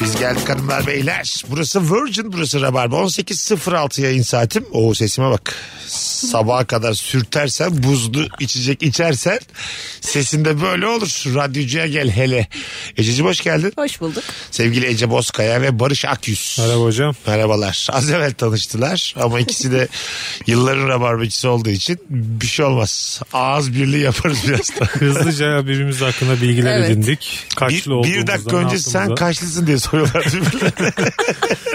Biz geldik hanımlar beyler. Burası Virgin, burası Rabarba. 18.06 yayın saatim. Oo sesime bak. Sabaha kadar sürtersen, buzlu içecek içersen sesinde böyle olur. Radyocuya gel hele. Ececiğim hoş geldin. Hoş bulduk. Sevgili Ece Bozkaya ve Barış Akyüz. Merhaba hocam. Merhabalar. Az evvel tanıştılar ama ikisi de yılların rabarbacısı olduğu için bir şey olmaz. Ağız birliği yaparız biraz da. Hızlıca birbirimiz hakkında bilgiler Evet. edindik. Bir, Kaçlı olduğumuzda, bir dakika önce sen kaçlısın diye soruyorlar birbirlerine.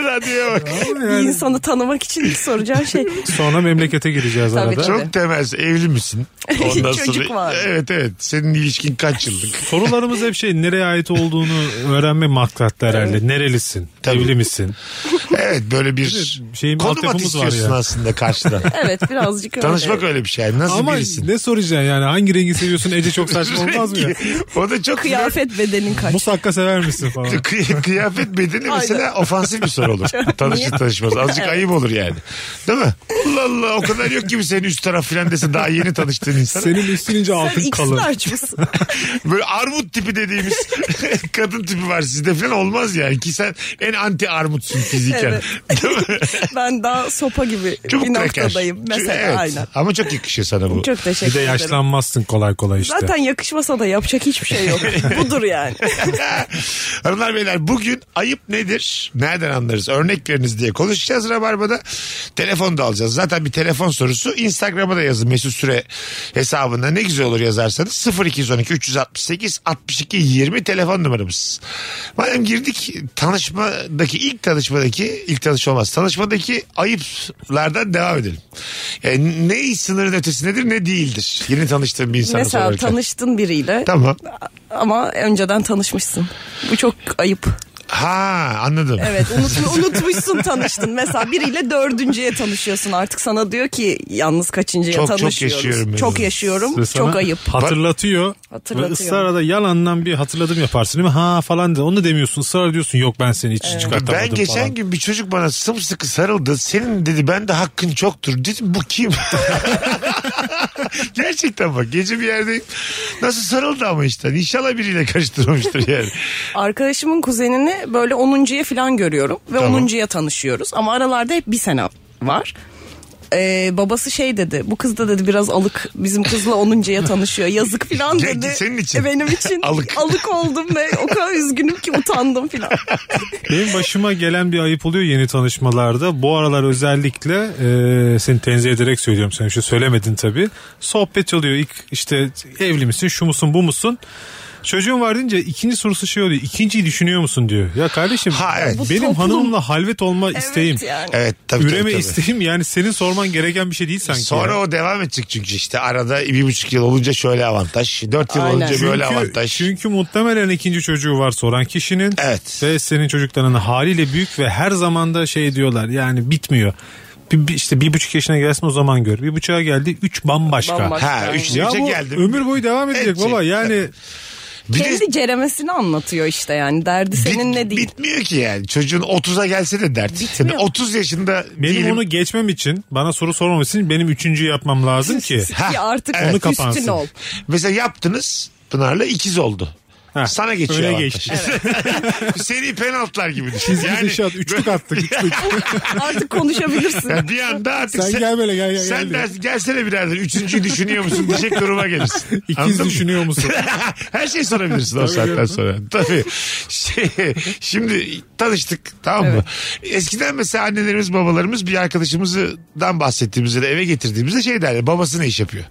Radyoya bak. Bir insanı tanımak için ilk soracağım şey. Sonra memlekete gireceğiz Tabii, arada. tabii. Çok temel. Evli misin? Ondan Çocuk sonra... var. Evet evet. Senin ilişkin kaç yıllık? Sorularımız hep şey nereye ait olduğunu öğrenme maksatlı herhalde. Nerelisin? Tabii. Evli misin? Evet böyle bir Şeyin konum at altyapımız var istiyorsun ya. aslında karşıdan. Evet birazcık öyle. Tanışmak öyle bir şey. Nasıl Ama birisin? ne soracaksın yani hangi rengi seviyorsun Ece çok saçma olmaz mı ya? o da çok Kıyafet bedenin kaç. Musakka sever misin falan. Kıy- Kıyafet bedeni mesela ofansif bir soru olur. Tanışır tanışmaz. Azıcık ayıp olur yani. Değil mi? Allah Allah o kadar yok ki senin üst taraf filan dese daha yeni tanıştığın insan. Senin üstün ince altın kalın. İkisini açmışsın. Böyle armut tipi dediğimiz kadın tipi var sizde filan olmaz yani. Ki sen en anti armutsun fiziken. Değil mi? Ben daha sopa gibi Çubuk bir kraker. noktadayım. Mesela Evet. aynen. Ama çok yakışıyor sana bu. Çok Bir teşekkür de ederim. yaşlanmazsın kolay kolay işte. Zaten yakışmasa da yapacak hiçbir şey yok. Budur yani. Hanımlar beyler bugün ayıp nedir? Nereden anlarız? Örnek veriniz diye konuşacağız Rabarba'da. Telefon da alacağız. Zaten bir telefon sorusu. Instagram'a da yazın Mesut Süre hesabında. Ne güzel olur yazarsanız. 0212 368 62 20 telefon numaramız. Madem girdik tanışmadaki ilk tanışmadaki ilk tanış olmaz. Tanışmadaki ayıplardan devam edelim. Yani ne sınırın ötesi nedir ne değildir. Yeni tanıştığım bir insana Mesela sorarken. tanıştın biriyle Tamam. ama önceden tanışmışsın. Bu çok ayıp. Ha anladım. Evet unutma, unutmuşsun tanıştın. Mesela biriyle dördüncüye tanışıyorsun artık. Sana diyor ki yalnız kaçıncıya Çok- çok tanışıyoruz. yaşıyorum ben çok bunu. yaşıyorum. Ve sana Çok ayıp. Hatırlatıyor. Hatırlatıyor. Ve ısrarla yalandan bir hatırladım yaparsın değil mi? Ha falan da onu da demiyorsun. Israr diyorsun yok ben seni hiç çıkartamadım Ben geçen falan. gün bir çocuk bana sımsıkı sarıldı. Senin dedi ben de hakkın çoktur. Dedim bu kim? Gerçekten bak gece bir yerdeyim. Nasıl sarıldı ama işte. İnşallah biriyle karıştırmamıştır yani. Arkadaşımın kuzenini böyle 10.ya falan görüyorum ve Tamam. 10.ya tanışıyoruz ama aralarda hep bir sene var. Ee, babası şey dedi bu kız da dedi biraz alık bizim kızla 10.ya tanışıyor yazık falan Ge- dedi. senin için. E, Benim için Alık. alık. oldum ve o kadar üzgünüm ki utandım falan. Benim başıma gelen bir ayıp oluyor yeni tanışmalarda. Bu aralar özellikle e, seni tenzih ederek söylüyorum sana bir şey söylemedin tabii. Sohbet oluyor ilk işte evli misin şu musun bu musun? Çocuğun var deyince ikinci sorusu şey oluyor. İkinciyi düşünüyor musun diyor. Ya kardeşim Ha, evet. benim toplum- hanımla halvet olma isteğim. Evet yani. Evet tabii tabii, Üreme tabii. isteğim yani senin sorman gereken bir şey değil sanki. Sonra ya. o devam edecek çünkü işte arada bir buçuk yıl olunca şöyle avantaj. Dört yıl Aynen. olunca böyle Çünkü- avantaj. Çünkü Şey- muhtemelen ikinci çocuğu var soran kişinin. Evet. Ve senin çocukların haliyle büyük ve her zaman da şey diyorlar yani bitmiyor. Bir, bir- işte bir buçuk yaşına gelsin o zaman gör. Bir buçuğa geldi üç bambaşka. Bambaşka. Ha üç Ya üçe bu geldim. ömür boyu devam edecek Edecek. baba yani Bir de- Kendi ceremesini anlatıyor işte yani derdi senin bit- ne değil. Bitmiyor ki yani. Çocuğun 30'a gelse de dert. Şimdi 30 yaşında benim diyelim- onu geçmem için bana soru sormam için benim üçüncüyü yapmam lazım ki. Ki artık evet. Onu üstün kapansın. ol. Mesela yaptınız Pınar'la ikiz oldu. Heh, Sana geçiyor. öne avantaj. geçti. Seri penaltılar gibi düşün. Çizgi dışı at, üçlük attık. Üçlük. Artık konuşabilirsin. Ya bir anda artık Sen gel böyle, gel, gel, Sen gel dersin, gelsene birader üçüncüyü düşünüyor musun diyecek duruma gelirsin. İkiz Anladın mı? düşünüyor musun? Her şeyi sorabilirsin o Tabii saatten canım. sonra. Tabii. Şey, şimdi tanıştık tamam mı? Eskiden mesela annelerimiz babalarımız bir arkadaşımızdan bahsettiğimizde de eve getirdiğimizde şey derler babası ne iş yapıyor?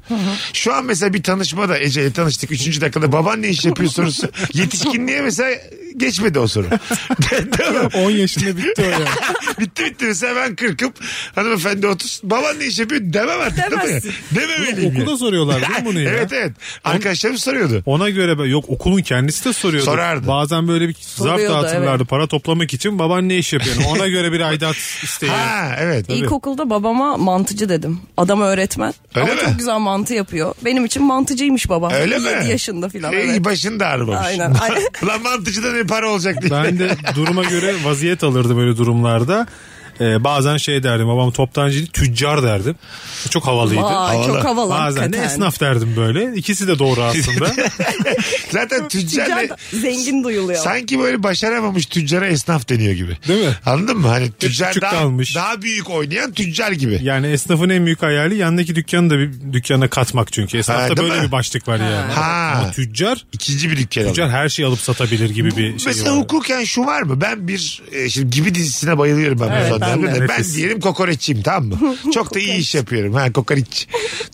Şu an mesela bir tanışmada Ece'yle tanıştık 3. dakikada baban ne iş yapıyor sorusu yetişkinliğe mesela geçmedi o soru. tamam. 10 yaşında bitti o ya. bitti bitti mesela ben 40'ım hanımefendi 30 baban ne iş yapıyor demem artık Demezsin. değil mi? Dememeliyim. Okulda yani. soruyorlar değil mi bunu ya? evet evet arkadaşlarım soruyordu. Ona göre ben- yok okulun kendisi de soruyordu. Sorardı. Bazen böyle bir zarf Soruyordu, dağıtırlardı para toplamak için. Baban ne iş yapıyor? Ona göre bir aidat isteği. Ha evet. İlkokulda babama mantıcı dedim. Adam öğretmen. Öyle ama mi? çok güzel mantı yapıyor. Benim için mantıcıymış baba. Öyle mi? 7 yaşında filan. Ey, evet. Başını da ağrımamış. Aynen. Aynen. Lan mantıcıda ne para olacak diye. Ben de duruma göre vaziyet alırdı böyle durumlarda. Ee, bazen şey derdim babam toptancı değil tüccar derdim. Çok havalıydı. Vay, Havalı. Çok havalı. Bazen de hakikaten. esnaf derdim böyle. İkisi de doğru aslında. Zaten Tüccar tüccarla da zengin duyuluyor. sanki böyle başaramamış tüccara esnaf deniyor gibi. Değil mi? Anladın mı? Hani tüccar küçük daha, kalmış. daha büyük oynayan tüccar gibi. yani esnafın en büyük hayali yandaki dükkanı da bir dükkana katmak çünkü. Ha, Esnafta değil böyle mi? bir başlık var yani. Ha. Ama tüccar İkinci bir dükkan. alıyor. Tüccar her şeyi alıp satabilir gibi bir şey Mesela var. hukuken şu var mı? Ben bir e, şimdi gibi dizisine bayılıyorum ben. bu son ben dönemde de. de. Ben, Nefis. diyelim kokoreççiyim tamam mı? Çok da iyi iş yapıyorum. Ha kokoreç.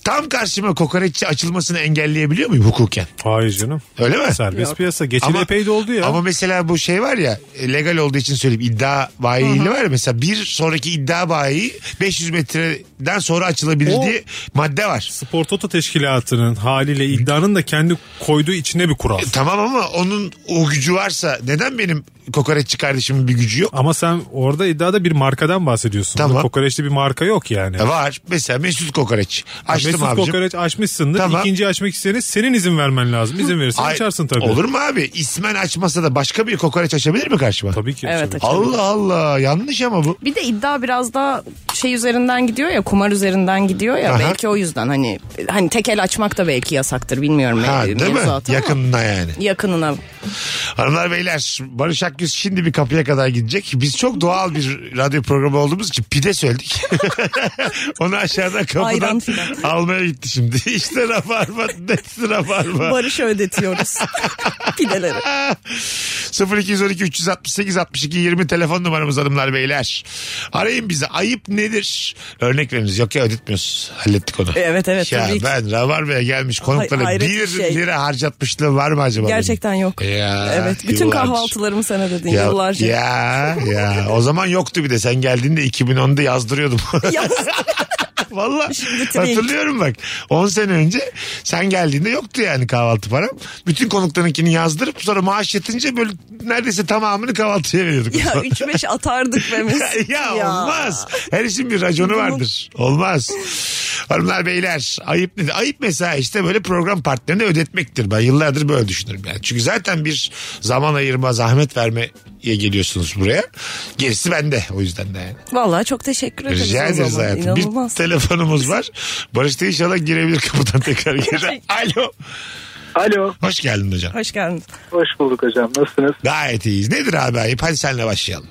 Tam karşıma kokoreççi açılmasını engelleyebiliyor muyum hukuken? Hayır canım. Öyle mi? Serbest piyasa. Geçen epey de oldu ya. Ama mesela bu şey var ya e, legal olduğu için söyleyeyim iddia bayiliği var ya mesela bir sonraki iddia bayi 500 metreden sonra açılabilir O- diye madde var. Spor Toto Teşkilatı'nın haliyle iddianın da kendi koyduğu içine bir kural. Tamam ama onun o gücü varsa neden benim kokoreççi kardeşimin bir gücü yok? Ama sen orada iddiada bir markadan bahsediyorsun. Tamam. Burada Kokoreçli bir marka yok yani. E, Var. Mesela Mesut Kokoreç. Açtım Mesut abicim. kokoreç açmışsındır. Tamam. İkinci açmak isteyene senin izin vermen lazım. İzin verirsen Ay, açarsın tabii. Olur mu abi? İsmen açmasa da başka bir kokoreç açabilir mi karşıma? Tabii ki. Evet, tabii. açar. Allah Allah yanlış ama bu. Bir de iddia biraz daha şey üzerinden gidiyor ya kumar üzerinden gidiyor ya Aha. belki o yüzden hani hani tekel açmak da belki yasaktır bilmiyorum Ha, me- değil mi? mevzuatı ama Yakınına yani. yakınına Hanımlar beyler Barış Akgüz şimdi bir kapıya kadar gidecek. Biz çok doğal bir radyo programı olduğumuz için pide söyledik. Onu aşağıdan kapıdan Ayran filan. almaya gitti şimdi. İşte rabarba, nefsi rabarba. barış ödetiyoruz pideleri. 0212 368 62 20 telefon numaramız hanımlar beyler. Arayın bizi. Ayıp nedir? Örnek veriniz. Yok ya ödetmiyoruz. Hallettik onu. E, Evet, evet, Ya tabii ki. ben Rabarba'ya gelmiş konuklara Hay- hayret bir bir şey. lira harcatmışlığı var mı acaba? benim? Gerçekten yok. Ya, evet bütün yıllardır. kahvaltılarımı sen ödedin Ya, yıllarca. ya ya o zaman yoktu bir de sen geldiğinde 2010'da yazdırıyordum. Yalnız- Valla Şimdi trink. hatırlıyorum bak 10 sene önce sen geldiğinde yoktu yani kahvaltı param. Bütün konuklarınkini yazdırıp sonra maaş yetince böyle neredeyse tamamını kahvaltıya veriyorduk. ya 3-5 atardık be biz. ya, olmaz. Her işin bir raconu vardır. Olmaz. Hanımlar beyler ayıp nedir? Ayıp mesela işte böyle program partnerini ödetmektir. Ben yıllardır böyle düşünürüm yani. Çünkü zaten bir zaman ayırma, zahmet vermeye geliyorsunuz buraya. Gerisi bende o yüzden de yani. Vallahi çok teşekkür ederiz. Rica o ederiz zaman. hayatım. İnanılmaz. Bir telefonumuz var. Barış da inşallah girebilir kapıdan tekrar girer. Alo. Alo. Hoş geldin hocam. Hoş geldin. Hoş bulduk hocam. Nasılsınız? Gayet iyiyiz. Nedir abi ayıp? Hadi senle başlayalım.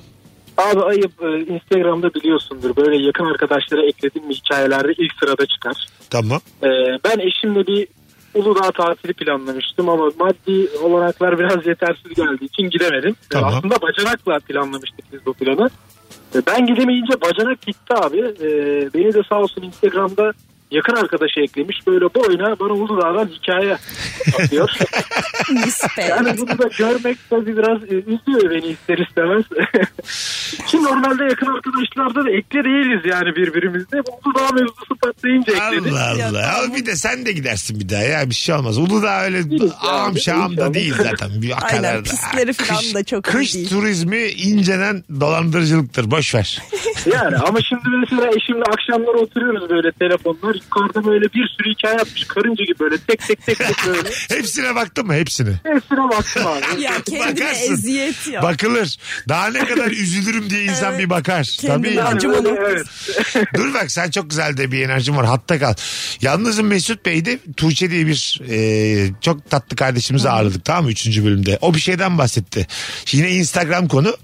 Abi ayıp e, Instagram'da biliyorsundur. Böyle yakın arkadaşlara eklediğim hikayelerde ilk sırada çıkar. Tamam. E, ben eşimle bir Uludağ tatili planlamıştım ama maddi olanaklar biraz yetersiz geldiği için gidemedim. E, Tamam. aslında bacanakla planlamıştık biz bu planı. E, ben gidemeyince bacanak gitti abi. E, beni de sağ olsun Instagram'da yakın arkadaşı eklemiş. Böyle boyuna bana Uludağ'dan hikaye atıyor. Nispet. Yani bunu da görmek tabii biraz e, üzüyor beni ister istemez. Ki normalde yakın arkadaşlarda da ekle değiliz yani birbirimizde. Bu daha mevzusu patlayınca ekledik. Allah Ya Allah. tamam. Abi bir de sen de gidersin bir daha ya bir şey olmaz. Uludağ öyle Değil ağam abi, şam da inşallah. değil zaten. Bir Aynen, akalarda. pistleri falan Kış- da çok iyi Kış değil. turizmi inceden dolandırıcılıktır. Boş ver. Yani ama şimdi mesela eşimle akşamları oturuyoruz böyle telefonlar. Yukarıda böyle bir sürü hikaye yapmış. Karınca gibi böyle tek tek tek tek böyle. Hepsine baktın mı? Hepsine. Hepsine baktım abi. ya kendine Bakarsın. eziyet ya. Bakılır. Daha ne kadar üzülürüm diye insan Evet. bir bakar. Kendine Tabii. acı- Yani böyle, Acımalı. evet. Dur bak sen çok güzel de bir enerjin var. Hatta kal. Yalnızım Mesut Bey de Tuğçe diye bir e, çok tatlı kardeşimizi ağırladık tamam mı? Üçüncü bölümde. O bir şeyden bahsetti. Yine Instagram konu.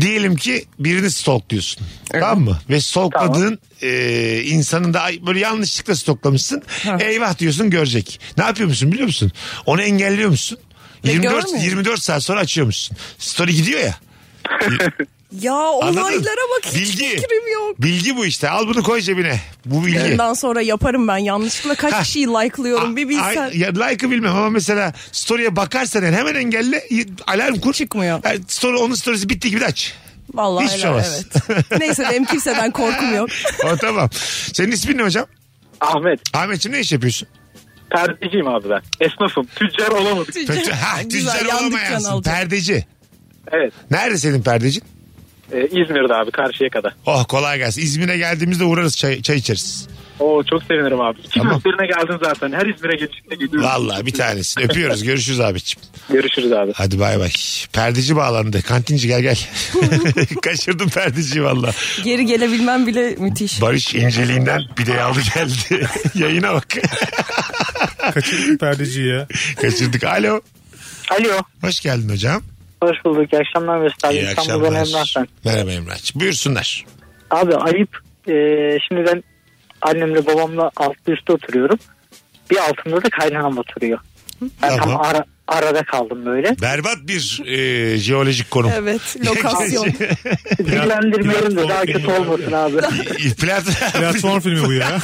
Diyelim ki birini stalkluyorsun. Tamam mı? Ve stalkladığın e, insanın da ay- böyle yanlışlıkla stalklamışsın. Eyvah diyorsun görecek. Ne yapıyor musun biliyor musun? Onu engelliyor musun? Ve 24, görmüyor. 24 saat sonra açıyormuşsun. Story gidiyor ya. Ya olaylara bak hiç Bilgi. fikrim yok. Bilgi bu işte. Al bunu koy cebine. Bu bilgi. Yarından sonra yaparım ben yanlışlıkla kaç Ha. kişiyi like'lıyorum bir bilsen. Ay- ya like'ı bilmem ama mesela story'e bakarsan yani hemen engelle y- alarm kur. Çıkmıyor. Ha, story, onun story'si bitti gibi de aç. Vallahi Hiç şey helal, olmaz. evet. Neyse benim kimseden korkum yok. O tamam. Senin ismin ne hocam? Ahmet Ahmetciğim ne iş yapıyorsun? perdeciyim abi ben. Esnafım. Tüccar olamadık. Peki, ha, Güzel tüccar yandık can olamayasın. alacak. Perdeci. Evet. Nerede senin perdecin? e, İzmir'de abi karşıya kadar. Oh kolay gelsin. İzmir'e geldiğimizde uğrarız çay, çay içeriz. Oo çok sevinirim abi. İki Tamam. tamam. geldin zaten. Her İzmir'e gelişinde geliyoruz. Vallahi bir tanesini öpüyoruz. Görüşürüz abiciğim. Görüşürüz abi. Hadi bay bay. Perdeci bağlandı. Kantinci gel gel. Kaçırdım perdeciyi valla. Geri gelebilmem bile müthiş. Barış inceliğinden bir de aldı geldi. Yayına bak. Kaçırdık perdeciyi ya. Kaçırdık. Alo. Alo. Hoş geldin hocam. Hoş bulduk. İyi akşamlar Mesut abi. İyi İstanbul'dan Emrah akşamlar. ben. Merhaba Emrah. Buyursunlar. Abi ayıp. Ee, şimdi ben annemle babamla altlı üstte oturuyorum. Bir altında da kaynanam oturuyor. Ben Tamam. tam ara, arada kaldım böyle. Berbat bir e, jeolojik konum. Evet lokasyon. Bilgilendirmeyelim de daha platform kötü filmi olmasın abi. Plat- Platform filmi bu ya.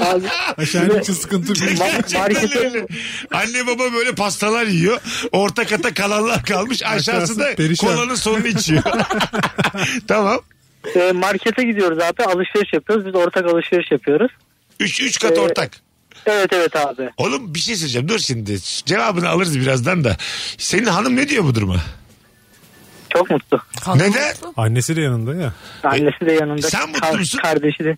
abi Aşağının için sıkıntı bir. ma- markete Öyle. Anne baba böyle pastalar yiyor. Orta kata kalanlar kalmış. Aşağısında Aşağısı perişan. kolanın sonunu içiyor. tamam. e, markete gidiyoruz abi alışveriş yapıyoruz. Biz ortak alışveriş yapıyoruz. Üç, üç kat Ee, ortak. Evet evet abi. Oğlum bir şey söyleyeceğim. Dur şimdi. Cevabını alırız birazdan da. Senin hanım ne diyor bu duruma? Çok mutlu. Neden? Annesi de yanında ya. Annesi de yanında. E, sen mutlu Ka- musun? Kardeşi de.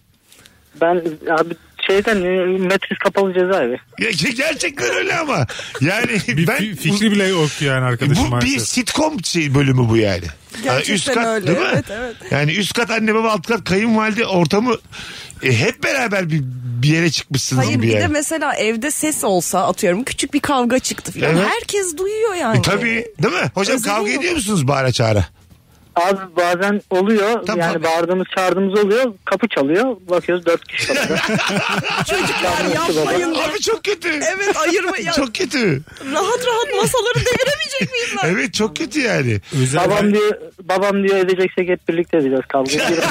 Ben abi şeyden e, Metris kapalı cezaevi. Ya, ge- gerçekten öyle ama. Yani Bir ben... fi- fikri bile yok yani arkadaşım Bu bir maalesef. sitcom şey bölümü bu yani. Gerçekten Yani öyle. Değil mi? Evet, evet. Yani üst kat anne baba alt kat kayınvalide ortamı e, hep beraber bir, bir yere çıkmışsınız Hayır gibi bir de yani. E, mesela evde ses olsa atıyorum küçük bir kavga çıktı falan. Evet. Herkes duyuyor yani. E, tabii değil mi? Hocam Özür kavga dilerim. ediyor musunuz bağıra çağıra? Abi bazen oluyor Tamam, yani tamam. bağırdığımız çağırdığımız oluyor kapı çalıyor bakıyoruz dört kişi kapıda. Çocuklar yapmayın. Abi çok kötü. evet ayırma ya. Çok kötü. Rahat rahat masaları deviremeyecek miyim ben? Evet çok kötü yani. Özel babam diyor babam diyor edeceksek hep birlikte edeceğiz kavga. Girmeyin.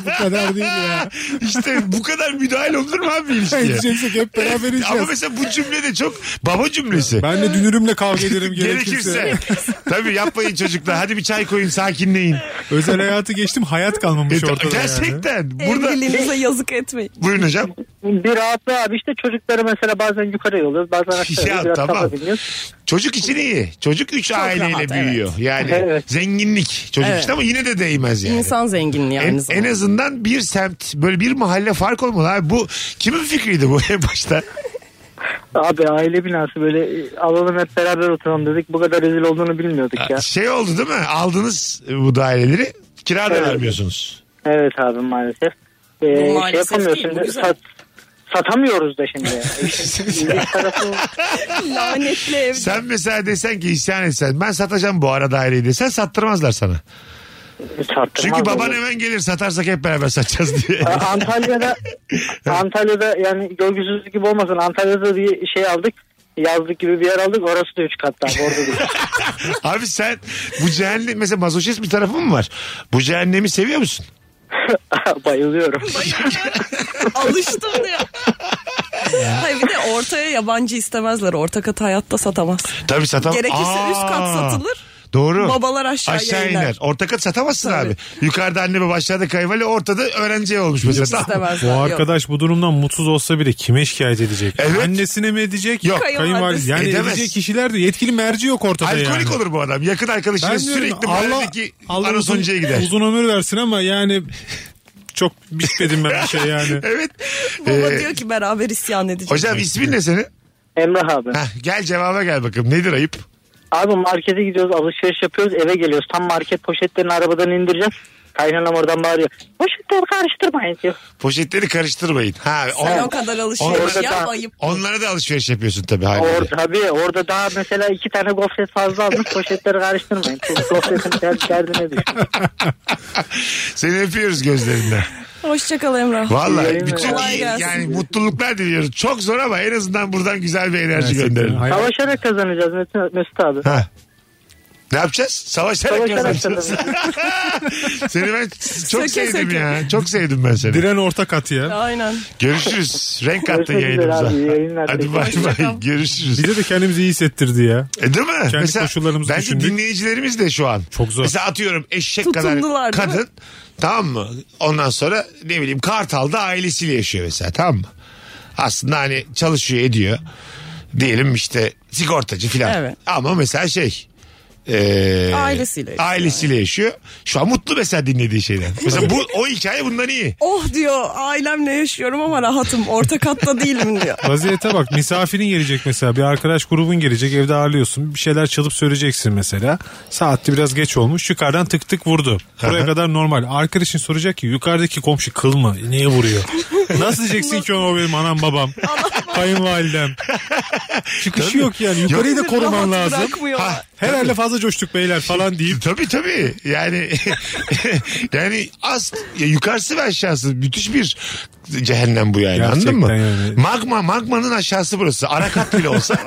bu kadar değil ya. İşte bu kadar müdahil olur mu abi ilişkiye? Edeceksek hep beraber Ama edeceğiz. mesela bu cümlede çok baba cümlesi. Ben de dünürümle kavga ederim Gerekirse. gerekirse. Tabii yapmayın çocuklar. Hadi bir çay koyun sakinleyin. Özel hayatı geçtim hayat kalmamış E, ortada yani. Gerçekten. Burada... Evliliğinize yazık etmeyin. Buyurun hocam. bir rahatlığı abi işte çocukları mesela bazen yukarı yolluyoruz bazen aşağı Ya, yolluyoruz biraz tamam. kafa dinliyoruz. Çocuk için iyi. Çocuk üç aileyle rahat, büyüyor. Yani Evet. zenginlik çocuk Evet. için ama yine de değmez yani. İnsan zenginliği en, aynı en zamanda. azından bir semt böyle bir mahalle fark olmalı abi. Bu kimin fikriydi bu en başta? Abi aile binası böyle e, alalım hep beraber oturalım dedik bu kadar rezil olduğunu bilmiyorduk ya. Şey oldu değil mi? Aldınız bu daireleri kira da Evet. vermiyorsunuz. Evet abi maalesef. Ee, Maalesef şey yapamıyoruz değil, bu şimdi güzel. sat, satamıyoruz da şimdi. İşin bir tarafı Lanetli evde. Sen mesela desen ki isyan etsen ben satacağım bu ara daireyi desen sattırmazlar sana. sattırmaz Çünkü baban olur. hemen gelir satarsak hep beraber satacağız diye. Ee, Antalya'da Antalya'da yani görgüsüzlük gibi olmasın Antalya'da bir şey aldık yazlık gibi bir yer aldık orası da 3 katta abi, orada değil. Abi sen bu cehennem mesela mazoşist bir tarafın mı var? Bu cehennemi seviyor musun? bayılıyorum Alıştım ya. Hayır bir de ortaya yabancı istemezler. Orta kat hayatta satamaz. Tabii satamaz. Gerekirse üst kat satılır. Doğru. Babalar aşağıya Aşağı iner. iner. Orta kat satamazsın Tabii. abi. Yukarıda anne baba aşağıda kayınvalide ortada öğrenci olmuş mesela. Hiç Tamam. Bu istemezler. Yok. arkadaş bu durumdan mutsuz olsa bile kime şikayet edecek? Evet. Annesine mi edecek? Yok. Kayınvalide. Yani Edemez. edecek kişiler de yetkili merci yok ortada Alkolik yani. olur bu adam. Yakın arkadaşına Ben diyorum, sürekli Allah, mahalledeki Allah uzun, Anasoncu'ya gider. uzun ömür versin ama yani çok bitmedim ben bir şey yani. Evet. Baba Ee, diyor ki beraber isyan edeceğiz. Hocam ismin ne senin? Emrah abi Heh, gel cevaba gel bakalım. Nedir ayıp? abi markete gidiyoruz alışveriş yapıyoruz eve geliyoruz tam market poşetlerini arabadan indireceğiz kaynanam oradan bağırıyor poşetleri karıştırmayın diyor Poşetleri karıştırmayın. Ha, Sen on- o kadar alışveriş Orada yap da- ayıp. onlara da alışveriş yapıyorsun tabii haliyle. Orada tabii orada daha mesela iki tane gofret fazla almış poşetleri karıştırmayın. Çünkü gofretin der- derdine düşün. Seni öpüyoruz gözlerinden. Hoşçakal Emrah. Vallahi Yayınlar. bütün Kolay gelsin. yani mutluluklar diliyoruz. Çok zor ama en azından buradan güzel bir enerji Gerçekten gönderin. hayat- Savaşarak kazanacağız Mesut, Mesut abi. Ha. Ne yapacağız? Savaşarak Savaşarak kazanacağız. seni ben Söke çok sevdim söke. ya. Çok sevdim ben seni. Diren ortak at ya. Aynen. Görüşürüz. Renk attın Görüşmek üzere yayınımıza. abi, iyi yayınlar. Hadi bay bay. Hoşçakal. Görüşürüz. Bize de kendimizi iyi hissettirdi ya. E değil mi? Kendi koşullarımızı bence düşündük. dinleyicilerimiz de şu an. Çok zor. Mesela atıyorum eşek kadar Tutumlular, değil mi? kadın. Tamam mı? Ondan sonra ne bileyim Kartal'da ailesiyle yaşıyor mesela tamam mı? Aslında hani çalışıyor ediyor. Diyelim işte sigortacı filan. Evet. Ama mesela şey. e, Ailesiyle yaşıyor. Ailesiyle yaşıyor. Şu an mutlu mesela dinlediği şeyden. Mesela bu, o hikaye bundan iyi. Oh diyor ailemle yaşıyorum ama rahatım. Orta katta değilim diyor. Vaziyete bak misafirin gelecek mesela bir arkadaş grubun gelecek evde ağırlıyorsun bir şeyler çalıp söyleyeceksin mesela saatte biraz geç olmuş yukarıdan tık tık vurdu buraya kadar normal arkadaşın soracak ki yukarıdaki komşu kıl mı E, niye vuruyor nasıl diyeceksin ki o benim anam babam kayınvalidem çıkışı yok yani yukarıyı da koruman Rahat lazım bırakmıyor. Ha, herhalde fazla coştuk beyler falan deyip E, Tabii tabii. Yani yani az ya yukarısı ve aşağısı müthiş bir cehennem bu yani. Gerçekten anladın mı? yani. Magma magmanın aşağısı burası. Arakat bile olsa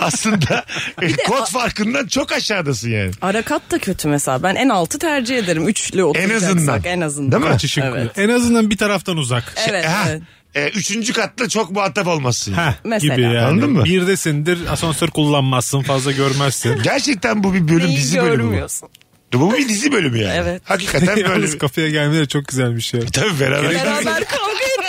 aslında e, kod farkından çok aşağıdasın yani. Arakat da kötü mesela. Ben en altı tercih ederim. Üçlü oturacaksak en azından. azından. Değil mi? kaçışık Evet. en azından bir taraftan uzak Evet, Ha, evet. e, üçüncü katta çok muhatap olmazsın. Heh, Mesela. gibi yani. Anladın mı? Birdesindir asansör kullanmazsın fazla görmezsin. Gerçekten bu bir bölüm Neyi dizi bölümü. görmüyorsun? bu. Bu bir dizi bölümü yani. Evet. Hakikaten böyle. Yalnız kafaya gelmeleri çok şey. güzelmiş ya. Tabii beraber. Beraber kavga et.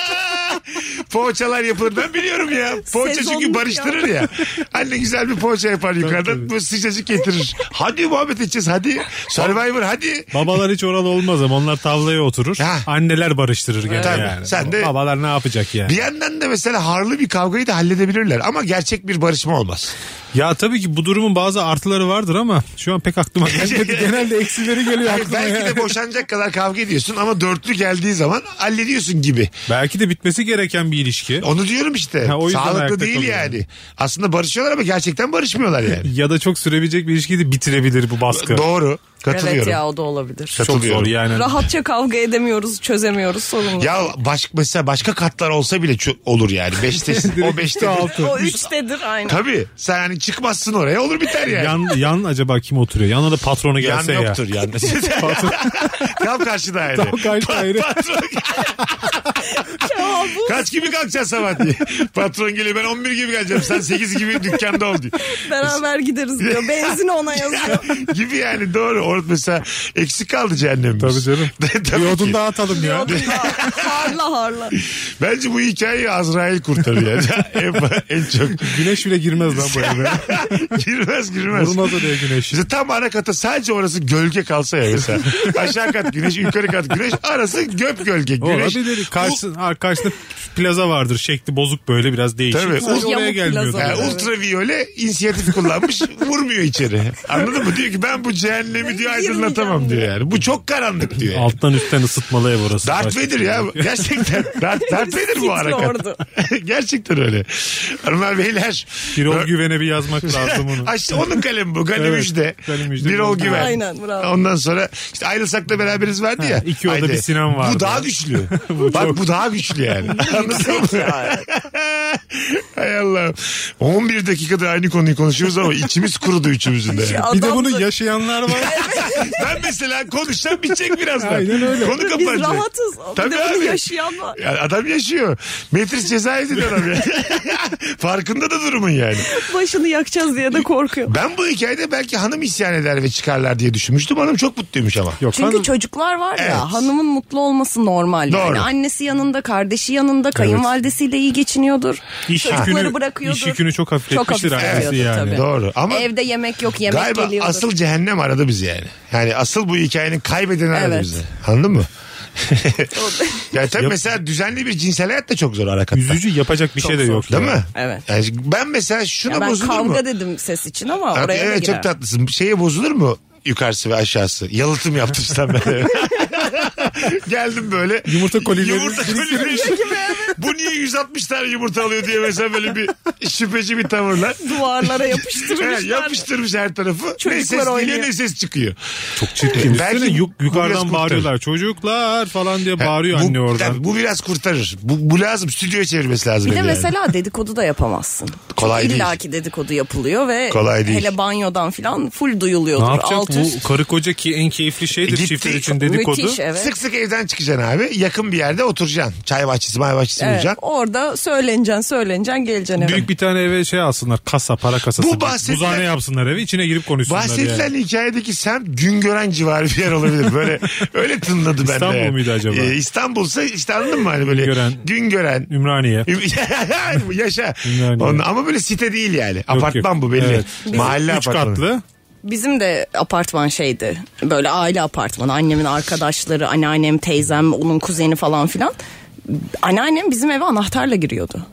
Poğaçalar yapılır ben biliyorum ya. Poğaça çünkü Sezonluk barıştırır ya. Anne güzel bir poğaça yapar yukarıdan. Bu sıcacık getirir. Hadi muhabbet edeceğiz hadi. Survivor hadi. Babalar hiç oralı olmaz ama onlar tavlaya oturur. Ha. Anneler barıştırır gene Tabii. yani. Sen de- Babalar ne yapacak yani? Bir yandan da mesela harlı bir kavgayı da halledebilirler. Ama gerçek bir barışma olmaz. Ya tabii ki bu durumun bazı artıları vardır ama şu an pek aklıma gelmedi. Genelde eksileri geliyor Yani aklıma. ya. belki belki, de de... boşanacak kadar kavga ediyorsun ama dörtlü geldiği zaman hallediyorsun gibi. bitmesi gereken bir ilişki. Onu diyorum işte. Ha, o yüzden Sağlıklı ayakta değil kalıyor. yani. Aslında barışıyorlar ama gerçekten barışmıyorlar yani. Ya da çok sürebilecek bir ilişkiyi de bitirebilir bu baskı. Doğru. Evet Katılıyorum. ya o da olabilir. çok zor yani. Rahatça kavga edemiyoruz, çözemiyoruz sorunu. Ya baş, mesela başka katlar olsa bile ço- olur yani. Beştesin. o Direkt beşte. altı. O üçtedir aynı. Tabii. Sen hani çıkmazsın oraya olur biter yani. Yan, Yan, yan acaba kim oturuyor? Yanına da patronu gelse ya. yoktur yan. Tam karşı daire. Tam karşı Pa- daire. patron. Kaç gibi kalkacaksın sabah diye. Patron geliyor ben 11 gibi geleceğim. Sen 8 gibi dükkanda ol diyor. Beraber gideriz diyor. Benzini ona yazıyor. gibi yani doğru. Orada mesela eksik kaldı cehennemimiz. Tabii canım. Tabii bir odun ki. daha atalım ya. harla harla. Bence bu hikayeyi Azrail kurtarır yani. en, en çok. Güneş bile girmez lan bu eve. girmez girmez. Vurmaz oraya güneş. İşte tam ana kata sadece orası gölge kalsa ya mesela. Aşağı kat güneş, yukarı kat güneş. Arası göp gölge güneş. Olabilir. Karşısın, ha, karşısında plaza vardır. Şekli bozuk böyle biraz değişik. Tabii. Sadece Yamuk oraya gelmiyor. plaza. Yani tabii. Evet. ultraviyole inisiyatif kullanmış vurmuyor içeri. Anladın mı? Diyor ki ben bu cehennemi diyor aydınlatamam diyor yani. Bu çok karanlık diyor. Yani. Alttan üstten ısıtmalı ev orası. Darth Başka Vader bir şey ya yok. gerçekten Darth, Darth Vader bu Hitler harekat. ordu. gerçekten öyle. Hanımlar beyler. Birol Güven'e bir yazmak lazım onu. Ha işte onun kalemi bu. Kalem Evet, Üç'de. Kalem Üç'de Bir ol bu. güven. Aynen, bravo. Ondan sonra işte ayrılsak da beraberiz vardı ya. iki oda Haydi. bir Sinan vardı. Bu daha güçlü. Bu Bak çok. bu daha güçlü yani. Anladın mı? Hay Allah. 11 dakikadır aynı konuyu konuşuyoruz ama içimiz kurudu üçümüzün de. Ya Bir de adam bunu da- yaşayanlar var. ben mesela konuşsam bitecek birazdan. Aynen öyle. Konu Biz kapanacak. rahatız. Tabii bir de bunu abi. yaşayan var. Ya adam yaşıyor. Metris cezaevinde adam ya. Farkında da durumun yani. Başını yakacağız diye de korkuyor. Ben bu hikayede belki hanım isyan eder ve çıkarlar diye düşünmüştüm. Hanım çok mutluymuş ama. Yok, Çünkü hanım- çocuklar var ya Evet. hanımın mutlu olması normal. Doğru. Yani annesi yanında, kardeşi yanında, kayınvalidesiyle iyi geçiniyordur. İş Çocukları yükünü- bırakıyordur. iş yükünü çok hafifletmiştir ailesi hafifletiyordur yani. tabii. Doğru ama Evde yemek yok, yemek galiba geliyordur. asıl cehennem aradı bizi yani. Yani asıl bu hikayenin kaybedeni aradı Evet. bizi. Anladın mı? ya tabii mesela düzenli bir cinsel hayat da çok zor arakatta. Üzücü yapacak bir şey de yok. Değil ya. mi? Evet. Yani ben mesela şuna Ya ben bozulur kavga mu? dedim ses için ama Abi, oraya da evet girer. çok tatlısın. Şeye bozulur mu? Yukarısı ve aşağısı. Yalıtım yaptım sen ben. Geldim böyle. Yumurta kolileri. Yumurta kolileri. Bu niye 160 tane yumurta alıyor diye mesela böyle bir şüpheci bir tavırlar. Duvarlara Ha, yapıştırmışlar. yapıştırmış her tarafı. ne Çocuklar ses geliyor oynuyor. ne ses çıkıyor. Çok çirkin. Belki Üstüne yuk- bu biraz yukarıdan kurtarır. bağırıyorlar. Çocuklar falan diye bağırıyor bu, anne oradan. tabii bu biraz kurtarır. Bu, bu lazım. Stüdyoya çevirmesi lazım. Bir de evi yani. mesela dedikodu da yapamazsın. Kolay Çok değil. illaki dedikodu yapılıyor ve Kolay değil. hele banyodan filan full Ne duyuluyordur. yapacak Alt üst. bu karı koca ki en keyifli şeydir E Gitti. çiftler için dedikodu. Müthiş evet. Sık sık evden çıkacaksın abi. Yakın bir yerde oturacaksın. Çay bahçesi, may bahçesi Evet, bulacaksın. orada söyleneceksin söyleneceksin geleceksin eve. Büyük bir tane eve şey alsınlar kasa para kasası. Bu bahsedilen- Buzhane yapsınlar evi içine girip konuşsunlar Bahsedilen yani. hikayedeki semt Güngören civarı bir yer olabilir. Böyle öyle tınladı bende. İstanbul yani. muydu acaba? Ee, İstanbul'sa işte anladın mı hani böyle Güngören. Güngören. Ümraniye. Yaşa. Ümraniye. Onun- ama böyle site değil yani. apartman yok. bu belli. Evet. Mahalle Üç apartmanı. katlı. Bizim de apartman şeydi. Böyle aile apartmanı. Annemin arkadaşları, anneannem, teyzem, onun kuzeni falan filan. Anneannem bizim eve anahtarla giriyordu.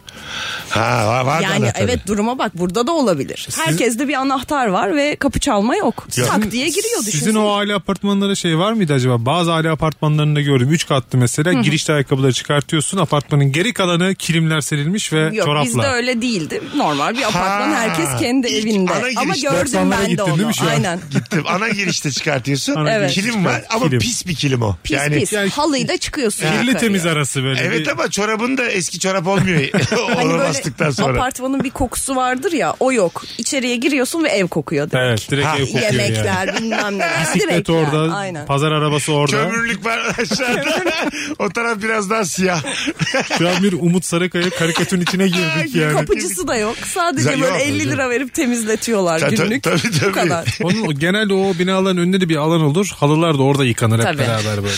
Ha var, var yani evet duruma bak burada da olabilir. Herkeste bir anahtar var ve kapı çalma yok. Tak diye giriyor düşünsene. Sizin o aile apartmanlara şey var mıydı acaba? Bazı aile apartmanlarında gördüm. Üç katlı mesela girişte ayakkabıları çıkartıyorsun. Apartmanın geri kalanı kilimler serilmiş ve Yok çorapla. bizde öyle değildi. Normal bir apartman Ha, herkes kendi ilk evinde. ana Ama girişte. gördüm Doksanlara ben de gittin değil onu. mi şu an? Aynen. Gittim. Ana girişte çıkartıyorsun. Ana Evet. girişte Kilim var çıkar. ama Kilim. pis bir kilim o. Pis yani pis. yani- Halıyla çıkıyorsun. Kirli yukarıya. temiz arası böyle. Evet bir- ama çorabın da eski çorap olmuyor. Hani Ona böyle bastıktan sonra. apartmanın bir kokusu vardır ya o yok. İçeriye giriyorsun ve ev kokuyor. direkt. Evet direkt Ha, ev kokuyor yani. Yemekler bilmem neler. direkt Bisiklet yani, orada, Aynen. pazar arabası orada. Kömürlük var aşağıda. o taraf biraz daha siyah. Şu an bir Umut Sarıkaya karikatürün içine girdik yani. Kapıcısı da yok. Sadece Güzel, böyle yok. 50 lira verip temizletiyorlar Ta- ta- günlük. tabii, tabii. Bu kadar. Onun o- genelde o binaların önünde de bir alan olur. Halılar da orada yıkanır hep Tabii. beraber böyle.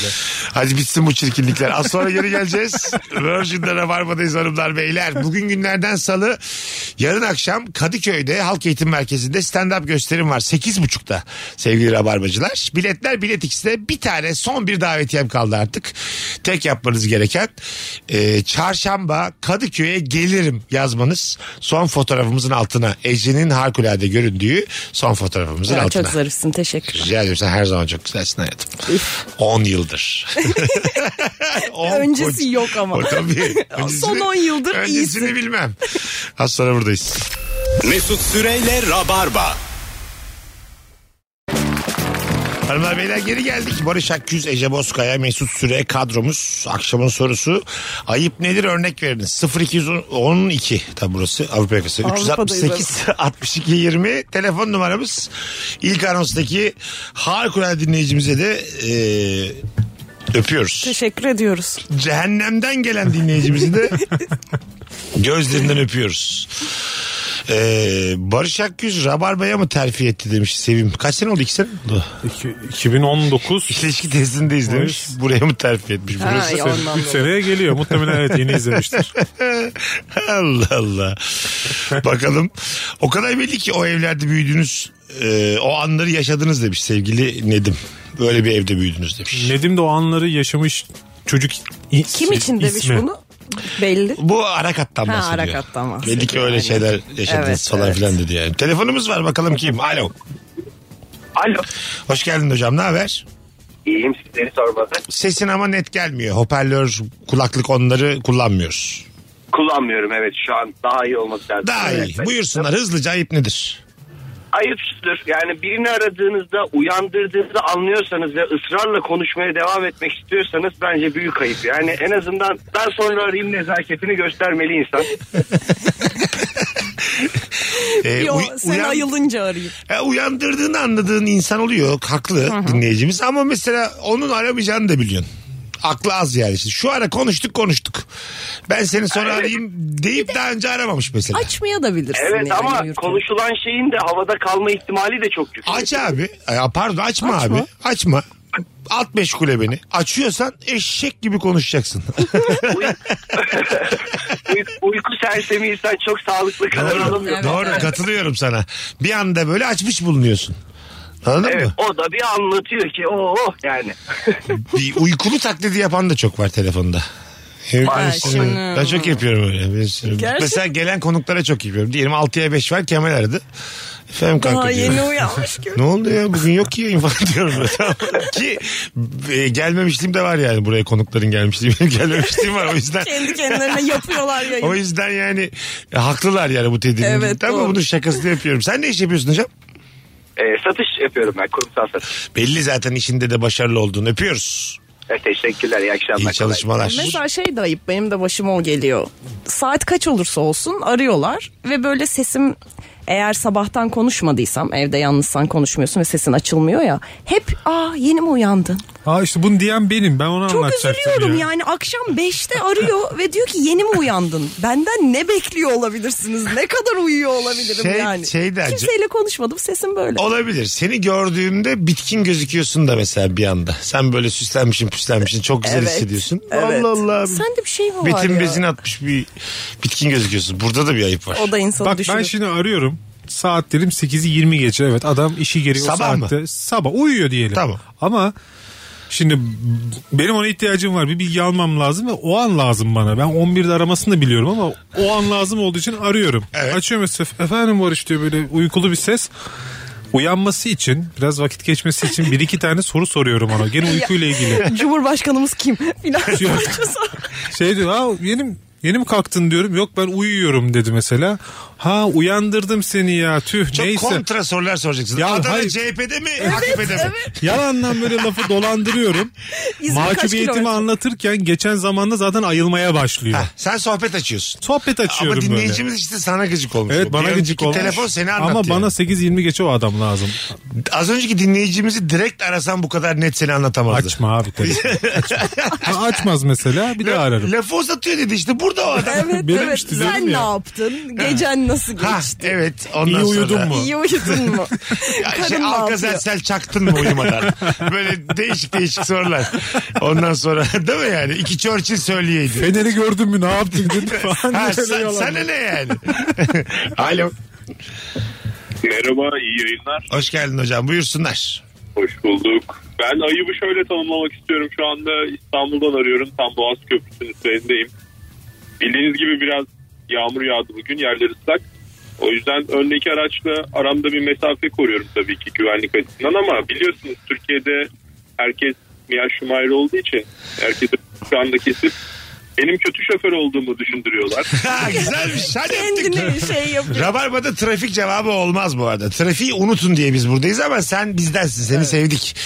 Hadi bitsin bu çirkinlikler. Az sonra geri geleceğiz. Virgin'de Rabarba'dayız hanımlar beyler. Bugün günlerden salı. Yarın akşam Kadıköy'de Halk Eğitim Merkezi'nde stand-up gösterim var. 8.30'da sevgili Rabarbacılar. Biletler Bilet X'de bir tane son bir davetiyem kaldı artık. Tek yapmanız gereken e, çarşamba Kadıköy'e gelirim yazmanız. Son fotoğrafımızın altına Ece'nin harikulade göründüğü son fotoğrafımızın Ya, altına. çok zarifsin teşekkürler. Rica ediyorum sen her zaman çok güzelsin hayatım. 10 yıldır. On Öncesi koca- yok ama. O tabii. Son on yıldır Öncesini iyisin. bilmem. Az sonra buradayız. Mesut Süreyle Rabarba. Hanımlar beyler geri geldik. Barış Akküz, Ece Bozkaya, Mesut Süre kadromuz. Akşamın sorusu ayıp nedir örnek veriniz. 0212 tabi burası Avrupa yakası. Avrupa'dayız 368 62 20 telefon numaramız. İlk anonstaki harikulade dinleyicimize de e, öpüyoruz. Teşekkür ediyoruz. cehennemden gelen dinleyicimizi de gözlerinden öpüyoruz. Ee, Barış Akgüz Rabarba'ya mı terfi etti demiş Sevim. Kaç sene oldu? İki sene oldu. İki- 2019 İlişki testindeyiz demiş. Buraya mı terfi etmiş? Burası. Ha, ya ondan 3 dolayı. seneye geliyor. Muhtemelen evet yeni izlemiştir. Allah Allah. Bakalım. O kadar belli ki o evlerde büyüdünüz. e, o anları yaşadınız demiş sevgili Nedim. Böyle bir evde büyüdünüz demiş. Nedim de o anları yaşamış çocuk i- Şey, Kim şey için demiş ismi. bunu? Belli. Bu Arakat'tan Ha, bahsediyor. Arakat'tan bahsediyor. Belli ki öyle Aynen. şeyler yaşadınız Evet, falan evet. filan dedi yani. Telefonumuz var bakalım kim? Alo. Alo. Hoş geldin hocam ne haber? İyiyim sizleri sormadan. Sesin ama net gelmiyor. Hoparlör, kulaklık onları kullanmıyoruz. Kullanmıyorum evet şu an daha iyi olması lazım. Daha iyi. Evet, ben- Buyursunlar hızlıca ayıp nedir? Ayıp şudur. Yani birini aradığınızda uyandırdığınızda anlıyorsanız ve ısrarla konuşmaya devam etmek istiyorsanız bence büyük ayıp. Yani en azından daha sonra arayayım nezaketini göstermeli insan. Ee, Yo, uy- sen uyan- ayılınca arayayım. E, uyandırdığını anladığın insan oluyor. Haklı dinleyicimiz ama mesela onun aramayacağını da biliyorsun. Aklı az yani. Şimdi şu ara konuştuk konuştuk. Ben seni sonra arayayım deyip daha önce aramamış mesela. Aç, Açmaya da bilirsin. Evet yani ama yürürken. konuşulan şeyin de havada kalma ihtimali de çok yüksek. abi. Ay, pardon açma, Açma. abi. Açma. At meşgule beni. Açıyorsan eşek gibi konuşacaksın. Uy- uyku sersemiysen çok sağlıklı karar Doğru, alamıyorsun. doğru katılıyorum sana. Bir anda böyle açmış bulunuyorsun. Anladın Evet, mı? o da bir anlatıyor ki oh oh yani. Bir uykulu taklidi yapan da çok var telefonda. Evde Ay, üstüne- şimdi- Ben çok yapıyorum öyle. bir sürü. Gerçek- Mesela gelen konuklara çok yapıyorum. Diyelim 6'ya 5 var Kemal aradı. Efendim kanka Daha diyorum. yeni uyanmış gibi. Ne oldu ya bugün yok ki yayın falan diyorum. böyle, tamam mı? ki e, gelmemişliğim de var yani buraya konukların gelmişliği. Benim gelmemişliğim var o yüzden. Kendi kendilerine yapıyorlar O yayın. yüzden yani e, haklılar yani bu Evet, tedirginlikte ama doğru. bunun şakasını yapıyorum. Sen ne iş yapıyorsun hocam? E, satış yapıyorum ben kurumsal satış. Belli zaten işinde de başarılı olduğunu öpüyoruz. E, teşekkürler iyi akşamlar. İyi kolay çalışmalar. Mesela şey de ayıp benim de başıma o geliyor. Saat kaç olursa olsun arıyorlar ve böyle sesim eğer sabahtan konuşmadıysam evde yalnızsan konuşmuyorsun ve sesin açılmıyor ya. Hep aa yeni mi uyandın? Aa işte bunu diyen benim. Ben onu Çok anlatacaktım. üzülüyorum ya. yani akşam 5'te arıyor ve diyor ki yeni mi uyandın? Benden ne bekliyor olabilirsiniz? Ne kadar uyuyor olabilirim Şey- yani? şey de acı- Kimseyle konuşmadım sesim böyle. Olabilir. Seni gördüğümde bitkin gözüküyorsun da mesela bir anda. Sen böyle süslenmişsin püslenmişsin çok güzel Evet, hissediyorsun. evet. Allah Allah. Sende bir şey mi var Betin ya? bezin atmış bir bitkin gözüküyorsun. Burada da bir ayıp var. O da insanı Bak düşürür. ben şimdi arıyorum. Saat dedim 8'i 20 geçe. Evet adam işi geliyor o Sabah mı? saatte. Sabah uyuyor diyelim. Tamam. Ama şimdi b- benim ona ihtiyacım var. Bir bilgi almam lazım ve o an lazım bana. Ben 11'de aramasını da biliyorum ama o an lazım olduğu için arıyorum. Evet. Açıyorum mesela efendim Barış diyor böyle uykulu bir ses. Uyanması için biraz vakit geçmesi için bir iki tane soru soruyorum ona. Gene uykuyla ilgili. Cumhurbaşkanımız kim? Filan soruyorsun. Şey diyor ha yeni, mi- yeni mi kalktın diyorum. Yok ben uyuyorum dedi mesela. Ha uyandırdım seni ya tüh Çok neyse. kontra sorular soracaksın. Ya Adana hayır. CHP'de mi? AKP'de mi? Yalandan böyle lafı dolandırıyorum. İzmir kaç Mahcubiyetimi kilometre? anlatırken geçen zamanda zaten ayılmaya başlıyor. Hah, sen sohbet açıyorsun. Sohbet açıyorum Ama böyle. dinleyicimiz işte sana gıcık olmuş. Evet Bu bana bir gıcık önceki olmuş. Telefon seni anlat Ama yani. bana 8-20 geçe o adam lazım. Az önceki dinleyicimizi direkt arasan bu kadar net seni anlatamazdı. Açma abi. telefonu. Açma. Ha, açmaz mesela bir daha ararım. Lafı uzatıyor dedi işte burada o adam. Evet Benim evet. işte Sen dedim ne ya. yaptın? Gecen nasıl ha, geçti? evet ondan İyi uyudun sonra- mu? İyi uyudun mu? Ya Kadın şey, ne yapıyor? Alkazersel çaktın mı uyumadan? Böyle değişik değişik sorular. Ondan sonra değil mi yani? İki Churchill söyleyeydi. Feneri gördün mü ne yaptın dedi falan. Ha, böyle sen, yalan. sana ne yani? Alo. Merhaba, iyi yayınlar. Hoş geldin hocam buyursunlar. Hoş bulduk. Ben ayıbı şöyle tanımlamak istiyorum. Şu anda İstanbul'dan arıyorum. Tam Boğaz Köprüsü'nün üzerindeyim. Bildiğiniz gibi biraz yağmur yağdı bugün. Yerler ıslak. O yüzden öndeki araçla aramda bir mesafe koruyorum tabii ki güvenlik açısından ama biliyorsunuz Türkiye'de herkes Mia Schumacher olduğu için herkesi şu anda kesip benim kötü şoför olduğumu düşündürüyorlar. Ha, güzelmiş. Hadi öptük. Kendini şey yapıyor. Rabarba'da trafik cevabı olmaz bu arada. Trafiği unutun diye biz buradayız ama sen bizdensin. Seni sevdik.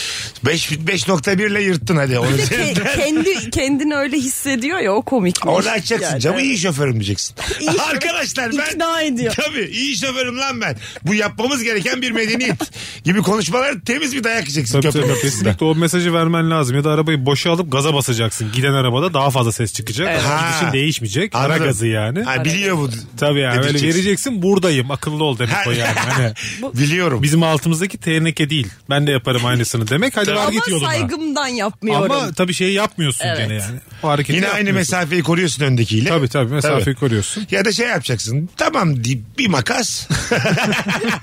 5 5.1 ile yırttın hadi. Onu Bir de ke- kendi kendini öyle hissediyor ya o komik. Orada açacaksın. Camı iyi şoförüm diyeceksin. İyi şoför- Arkadaşlar ben... İkna ediyor. Tabii iyi şoförüm lan ben. Bu yapmamız gereken bir medeniyet gibi konuşmalar temiz bir dayak yiyeceksin Tabii köprünün tabii ortasında. kesinlikle o mesajı vermen lazım. Ya da arabayı boşa alıp gaza basacaksın. Giden arabada daha fazla ses çıkacak. Ha. Gidişin değişmeyecek. Ara Anladım. gazı yani. Ha, biliyor bu. Tabii yani öyle Dedireceksin. vereceksin buradayım akıllı ol demek o yani. Hani Biliyorum. bizim altımızdaki terneke değil. Ben de yaparım aynısını demek. Hadi var Ama git yoluna. saygımdan yapmıyorum. Ama tabii şey yapmıyorsun Evet. gene yani. O hareketi Yine aynı yapmıyorsun. mesafeyi koruyorsun öndekiyle. Tabii tabii mesafeyi koruyorsun. Ya da şey yapacaksın. Tamam deyip bir makas.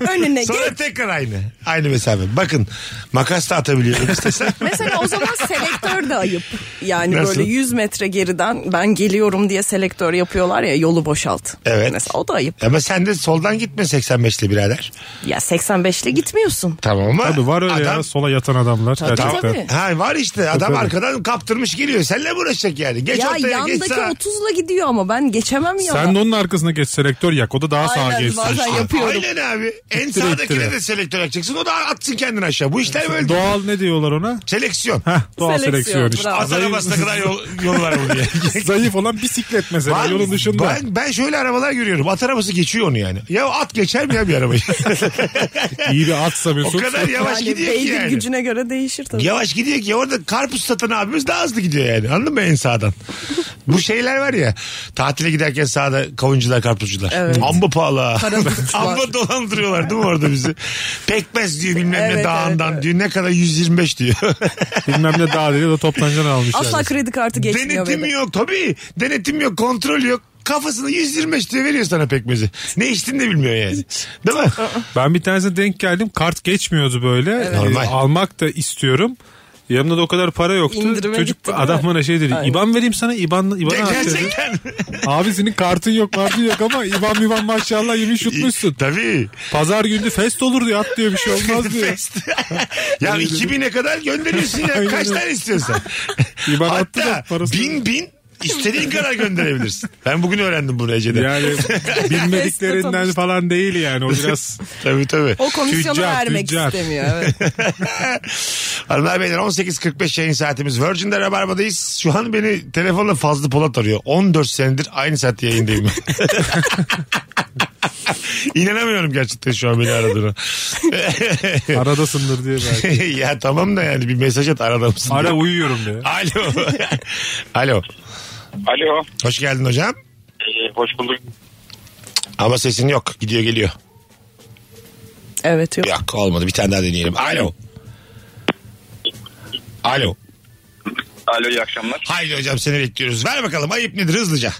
Önüne gel. Sonra tekrar aynı. Aynı mesafe. Bakın makas da atabiliyorum istesen. Mesela o zaman selektör de ayıp. Yani Nasıl? böyle 100 metre geriden ben geliyorum diye selektör yapıyorlar ya yolu boşalt. Evet. Mesela o da ayıp. Ama sen de soldan gitme 85'li birader. Ya 85'le gitmiyorsun. Tamam ama. Tabii var öyle adam, ya sola yatan adamlar. gerçekten. tabii. Ha var işte adam Tabii. arkadan kaptırmış geliyor. Seninle mi uğraşacak yani? Geç ya ortaya geç yandaki sağa. 30'la gidiyor ama ben geçemem ya. Sen de onun arkasına geç selektör yak. O da daha sağa Aynen, geçsin. bazen işte. yap- yapıyorum. Aynen abi. En İttire, sağdakine ittire. de selektör açacaksın. O da atsın kendini aşağı. Bu işler böyle. Doğal ne diyorlar ona? Seleksiyon. Heh, doğal Seleksiyon, seleksiyon işte. bravo. At arabasına kadar yol, yol var bunun yani. Zayıf olan bisiklet mesela Var mı? yolun dışında. Ben, ben şöyle arabalar görüyorum. At arabası geçiyor onu yani. Ya at geçer mi ya bir arabayı? İyi bir atsa o Mesut. kadar yavaş Yani gidiyor ki beygir yani. gücüne göre değişir tabii. Yavaş gidiyor ki orada karpuz satan abimiz daha hızlı gidiyor yani. Anladın mı en sağdan? Bu şeyler var ya. Tatile giderken sağda kavuncular, karpuzcular. Evet. Amba pahalı. ha. Karadutçular. Amba dolandırıyorlar değil mi orada bizi? Pekmez diyor bilmem ne Evet, dağından evet, evet. diyor. Ne kadar 125 diyor. Bilmem ne daha dedi o toptancıdan almışlar. Asla kredi kartı geçmiyor. Denetim bende. yok tabii. Denetim yok, kontrol yok. Kafasını 125 diye veriyor sana pekmezi. Ne içtiğini de bilmiyor yani. Değil mi? Ben bir tanesine denk geldim. Kart geçmiyordu böyle. Ee, Normal. almak da istiyorum. Ee, Yanımda da o kadar para yoktu. İndirime Çocuk gitti, değil adam mi? bana şey dedi. Aynen. İban vereyim sana. İban, İban'a at dedi. Gerçekten. Abi senin kartın yok martın yok ama İban İban maşallah yemiş yutmuşsun. Tabii. Pazar günü fest olur diyor at diyor bir şey olmaz diyor. Fest. ya 2000'e kadar gönderiyorsun ya. Aynen Kaç öyle. tane istiyorsan. İban attı Hatta da parasını. bin bin istediğin kadar gönderebilirsin. Ben bugün öğrendim bunu Ece'den. Yani bilmediklerinden tanıştım. falan değil yani o biraz Tabii tabii. O komisyonu Tüccar, vermek tüccar. istemiyor. Evet. Hanımlar beyler 18.45 yayın saatimiz. Virgin'de Rabarba'dayız. Şu an beni telefonla Fazlı Polat arıyor. 14 senedir aynı saatte yayındayım. İnanamıyorum gerçekten şu an beni aradığına. aradasındır diye belki. ya tamam da yani bir mesaj at arada mısın? Ara diye. uyuyorum diye. Alo. Alo. Alo. Ee, Hoş geldin hocam. hoş bulduk. Ama sesin yok. Gidiyor geliyor. evet yok. Yok olmadı. Bir tane daha deneyelim. Alo. Alo. Alo iyi akşamlar. Haydi hocam seni bekliyoruz. Ver bakalım ayıp nedir hızlıca.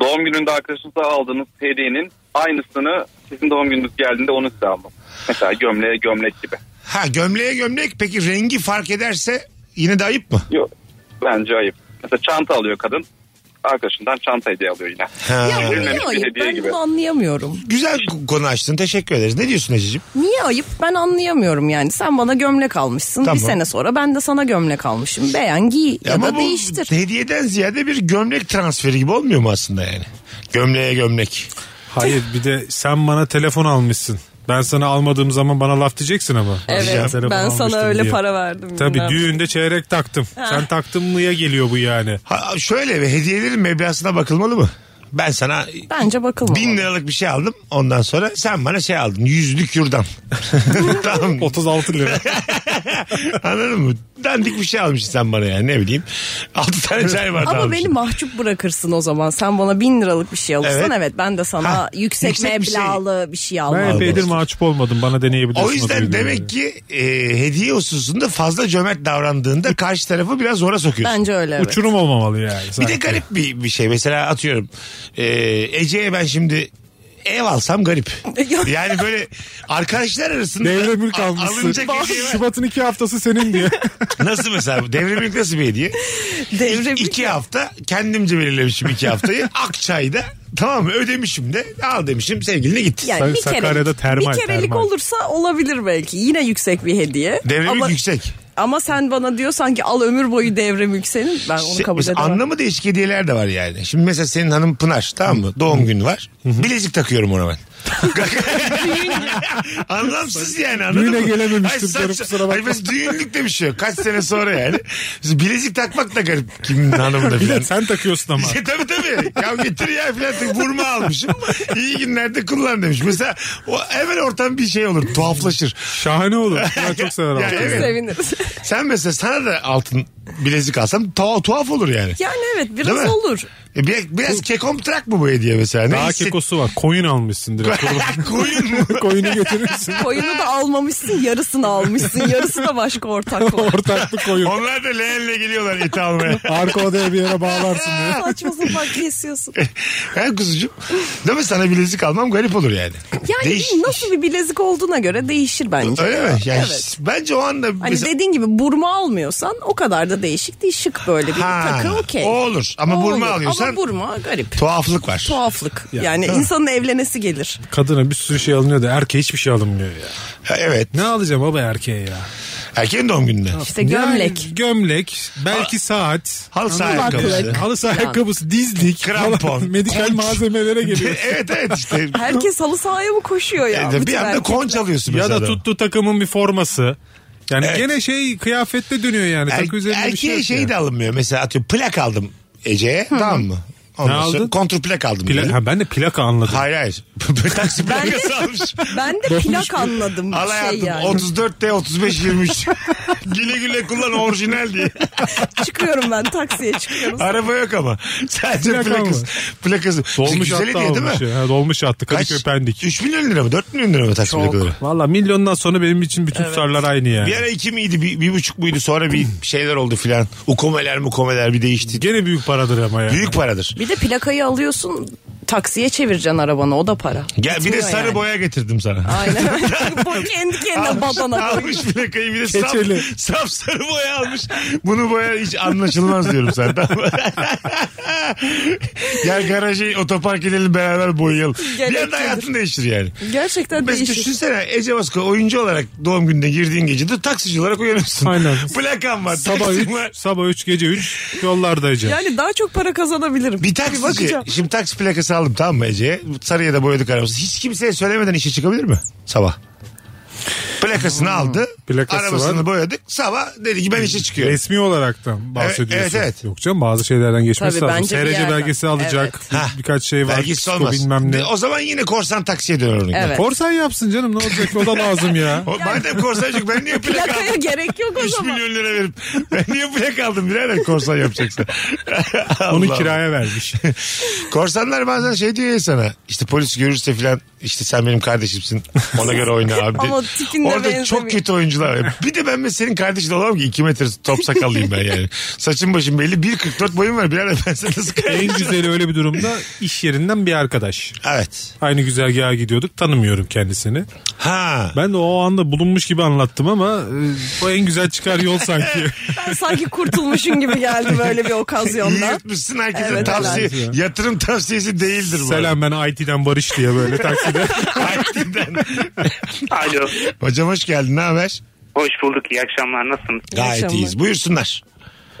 Doğum gününde arkadaşınıza aldığınız hediyenin aynısını sizin doğum gününüz geldiğinde onu size almak. Mesela gömleğe gömlek gibi. Ha gömleğe gömlek peki rengi fark ederse yine de ayıp mı? Yok bence ayıp. Mesela çanta alıyor kadın. Arkadaşından çanta hediye alıyor yine. Ha. Ya bu niye Verilmemiş Ee, bir ayıp? hediye Ben gibi. bunu anlayamıyorum. Güzel konu açtın teşekkür ederiz. Ne diyorsun Ececiğim? Niye ayıp? Ben anlayamıyorum yani. Sen bana gömlek almışsın. Tamam. Bir sene sonra ben de sana gömlek almışım. Beğen giy ya da değiştir. hediyeden ziyade bir gömlek transferi gibi olmuyor mu aslında yani? Gömleğe gömlek. Hayır bir de sen bana telefon almışsın. Ben sana almadığım zaman bana laf diyeceksin ama. Sen Evet telefon ben sana almıştın öyle diye. para verdim. Tabii bilmem. düğünde çeyrek taktım. Sen taktın mıya geliyor bu yani. Ha, şöyle bir hediyelerin meblağına bakılmalı mı? Ben sana Bence bakılmalı. bin liralık bir şey aldım. Ondan sonra sen bana şey aldın. Yüzlük yurdan. tamam. 36 lira. Anladın mı? Dandik bir şey almışsın sen bana yani ne bileyim. Altı tane çay bardağı Ama beni almışsın. mahcup bırakırsın o zaman. Sen bana bin liralık bir şey alırsan Evet. evet, ben de sana Ha, yüksek, yüksek bir şey. meblağlı bir şey almam. Ben epeydir mahcup olmadım. Bana deneyebilirsin. O yüzden düğünü. demek ki e, hediye hususunda fazla cömert E- davrandığında karşı tarafı biraz zora sokuyorsun. Bence öyle evet. Uçurum olmamalı yani. Bir de sanki. garip bir, bir şey. Mesela atıyorum e, Ece'ye ben şimdi ev alsam garip. yani böyle arkadaşlar arasında Devre mülk a- almışsın. alınacak hediye var. Şubat'ın iki haftası senin diye. Nasıl mesela? Devre mülk nasıl bir hediye? Devre bir- iki hafta kendimce belirlemişim iki haftayı. Akçay'da tamam mı? ödemişim de al demişim sevgiline git. Yani Sak- bir kerelik, Sakarya'da termal, bir kerelik termal. olursa olabilir belki. Yine yüksek bir hediye. Devre ama, mülk yüksek. ama sen bana diyorsan ki al ömür boyu devre mülk senin. Ben onu Şey, kabul mesela edemem. anlamı değişik hediyeler de var yani. Şimdi mesela senin hanım Pınar tamam mı? Doğum günü var. Bilezik takıyorum ona ben. Anlamsız yani anladın Düğüne mı? gelememiştim Ay, saç- canım, kusura bakma. Ay, mesela düğünlük de bir şey yok. Kaç sene sonra yani. Mesela bilezik takmak da garip kimin hanımında bir filan. de sen takıyorsun ama. İşte tabii tabii. Ya getir ya filan. diye Vurma almışım. İyi günlerde kullan demiş. Mesela o hemen ortam bir şey olur. Tuhaflaşır. Şahane olur. Ben çok severim. Ya, altını. evet. Seviniriz. Sen mesela sana da altın bilezik alsam tuhaf, tuhaf olur yani. yani evet Değil mi? biraz olur. E, bir- biraz kekom trak mı bu hediye mesela? Ne Daha hisset- kekosu var. Koyun almışsın direkt. Koyun mu? Koyunu getirirsin. Koyunu da almamışsın yarısını almışsın. Yarısı da başka ortak var. Ortaklı koyun. Onlar da leğenle geliyorlar eti almaya. Arka odaya bir yere bağlarsın diye. Saçma sapan kesiyorsun. He kuzucuğum. Değil mi sana bilezik almam garip olur yani. Yani Değiş- nasıl bir bilezik olduğuna göre değişir bence. Öyle mi? Yani Evet. Bence o anda... Hani mesela- dediğin gibi burma almıyorsan o kadar da değişik değil. Şık böyle bir Ha, takı okey. o olur. Ama O burma olur. alıyorsan- Ama burma garip. Tuhaflık var. Tuhaflık. Yani insanın evlenesi gelir. Kadına bir sürü şey alınıyor da erkeğe hiçbir şey alınmıyor ya. Ha, Evet. Ne alacağım baba erkeğe ya? Erkeğin doğum gününde. İşte gömlek. Yani gömlek, belki saat. Halı saha Anladın mı? ayakkabısı. Halı saha ayakkabısı, dizlik. Krampon, falan. Medikal konç. malzemelere geliyor. evet evet işte. Herkes halı sahaya mı koşuyor ya? E, bir Bütün anda erkek- konç alıyorsun ya mesela. da tuttu takımın bir forması. Yani Evet. gene şey kıyafette dönüyor yani. Er, Takı üzerinde bir şey erkeğe yok şey yani. de alınmıyor. Mesela atıyorum plak aldım Ece'ye tamam mı? Ondan Ne sonra aldın? Kontrplak aldım. Pla- diyelim. ha, ben de plaka anladım. Hayır hayır. Taksi plakası almış. Ben de plak anladım Al şey hayatım yani. 34 T 35 23. güle güle kullan orijinal diye. Çıkıyorum ben taksiye çıkıyorum. Araba yok ama. Sadece Plaka plakası. mı? Plakası. Dolmuş Güzel hattı hediye değil almış. mi? ya. Ha, dolmuş hattı. Kadıköy Pendik. 3 milyon lira mı? 4 milyon lira mı taksi plakaları? Valla milyondan sonra benim için bütün tutarlar aynı yani. Bir ara 2 miydi? 1,5 bir, buçuk muydu? Sonra bir şeyler oldu filan. Ukomeler mukomeler bir değişti. Gene büyük paradır ama yani. Büyük paradır. Bir de plakayı alıyorsun taksiye çevireceksin arabanı o da para. Gel bir de Bitmiyor sarı yani. boya getirdim sana. Aynen. Bu kendi kendine Almış, badana koyuyor. almış plakayı bir de saf, Keçeli. saf sarı boya almış. Bunu boya hiç anlaşılmaz diyorum sen. Tamam. mı? Gel garaja otopark edelim beraber boyayalım. bir anda Gerekçedir. hayatın değişir yani. Gerçekten Mesela değişik. düşünsene Ece Baska oyuncu olarak doğum gününe girdiğin gecede taksici olarak uyanıyorsun. Aynen. Plakan var, Sabah taksin var. 3, sabah 3 gece 3 yollardayacağım. Yani daha çok para kazanabilirim. Bir taksici. bakacağım. Şimdi taksi plakası aldım tamam mı Ece'ye? Sarıya da boyadık arabası. Hiç kimseye söylemeden işe çıkabilir mi? Sabah. Plakasını aldı. Hmm, Plakası arabasını var. boyadık. Sabah dedi ki ben işe çıkıyorum. Resmi olaraktan bahsediyorsun. Evet, evet, evet. Yok canım bazı şeylerden geçmesi Tabii, lazım. bence bir SRC yerden. belgesi alacak. Evet. bir- Ha. Birkaç şey var. Vergisi Vergisi olmaz. bilmem ne. O zaman yine korsan taksiye döner örnek. Evet. Korsan yapsın canım ne olacak o da lazım ya. O, madem korsan yok ben niye plak Plakaya aldım? gerek yok o 3 zaman. milyon lira verip ben niye plak aldım birader korsan yapacaksa. Onu Allah Allah. kiraya vermiş. Korsanlar bazen şey diyor ya sana işte polis görürse filan işte sen benim kardeşimsin ona göre oyna abi. Ama diye. tipinde Orada benzemiyor. çok kötü oyuncular var. Bir de ben mesela senin kardeşin olamam ki 2 metre top sakallıyım ben yani. Saçım başım belli 1.44 boyum var birader ben sana nasıl en kardeşim? güzeli öyle bir durumda iş yerinden bir arkadaş. Evet. Aynı güzergaha gidiyorduk tanımıyorum kendisini. Ha. Ben de o anda bulunmuş gibi anlattım ama e, o en güzel çıkar yol sanki. Ben sanki kurtulmuşum gibi geldi böyle bir İyi okazyonda. yırtmışsın herkese Evet, tavsiye. helal. Yatırım tavsiyesi değildir bu. Selam ben IT'den Barış diye böyle takside. Aytinden. Alo. Hocam hoş geldin ne haber? Hoş bulduk. iyi akşamlar. Nasılsınız? Gayet akşamlar. iyiyiz buyursunlar.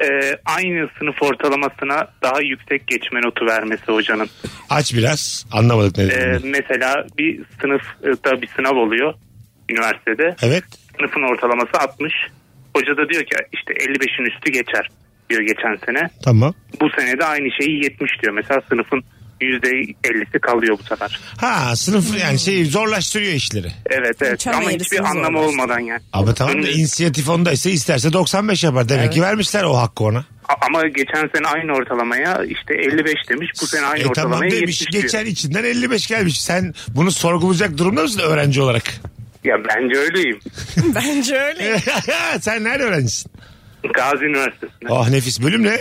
Ee, aynı sınıf ortalamasına daha yüksek geçme notu vermesi hocanın. Aç biraz anlamadık ne Ee, dediğini. mesela bir sınıfta bir sınav oluyor üniversitede. Evet. Sınıfın ortalaması 60. Hoca da diyor ki işte 55'in üstü geçer diyor geçen sene. Tamam. Bu sene de aynı şeyi 70 diyor. Mesela sınıfın %50'si kalıyor bu sefer. Ha sınıf yani şey zorlaştırıyor işleri. Evet evet Mükemmel ama yarısını hiçbir anlamı zorlar. olmadan yani. Ama tamam da Önümüz- inisiyatif ondaysa isterse 95 yapar. Demek ki vermişler o hakkı ona. A- Ama geçen sene aynı ortalamaya işte 55 demiş. Bu sene aynı E tamam ortalamaya demiş 70 diyor. geçen içinden 55 gelmiş. Sen bunu sorgulayacak durumda mısın öğrenci olarak? Ya bence öyleyim. Bence öyle. Sen nerede öğrencisin? Gazi Üniversitesi'nde. Oh nefis bölüm ne?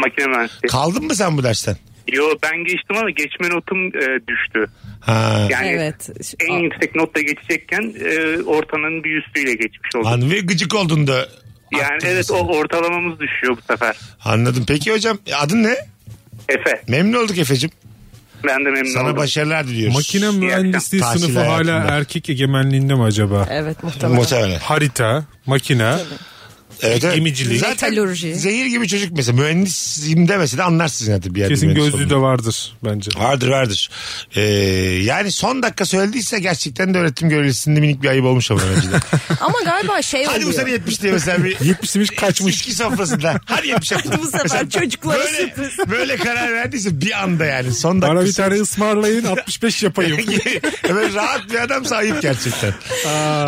Makine mühendisliği. Kaldın mı sen bu dersten? Yo ben geçtim ama geçme notum e, düştü. Ha. Yani Evet. en yüksek notla geçecekken e, ortanın bir üstüyle geçmiş oldum. An ve gıcık oldun da. yani Attın evet mısın? o ortalamamız düşüyor bu sefer. Anladım. Peki hocam e, adın ne? Efe Memnun olduk Efe'cim. ben de memnun Sana oldum. başarılar diliyoruz. Makine mühendisliği Tahsil sınıfı hala hayatında. erkek egemenliğinde mi acaba? Evet muhtemelen. Muhtemelen. Harita, makine. Evet, evet. Gemicilik. Metalurji. Zehir gibi çocuk mesela. Mühendisiyim demese de anlarsın zaten bir yerde. Kesin mühendis gözlüğü olduğunu. de vardır bence. Vardır vardır. Ee, yani son dakika söylediyse gerçekten de öğretim görevlisinde minik bir ayıp olmuş ama öğrencide. Ama galiba şey Hadi bu oluyor. sene 70 diye mesela bir... 70'miş kaçmış. İçki sofrasında. Hadi 70 yaptın. Bu sefer çocuklara Böyle, sürpriz. böyle karar verdiyse bir anda yani son dakika. Bana bir tane ısmarlayın 65 yapayım. Böyle rahat bir adamsa ayıp gerçekten.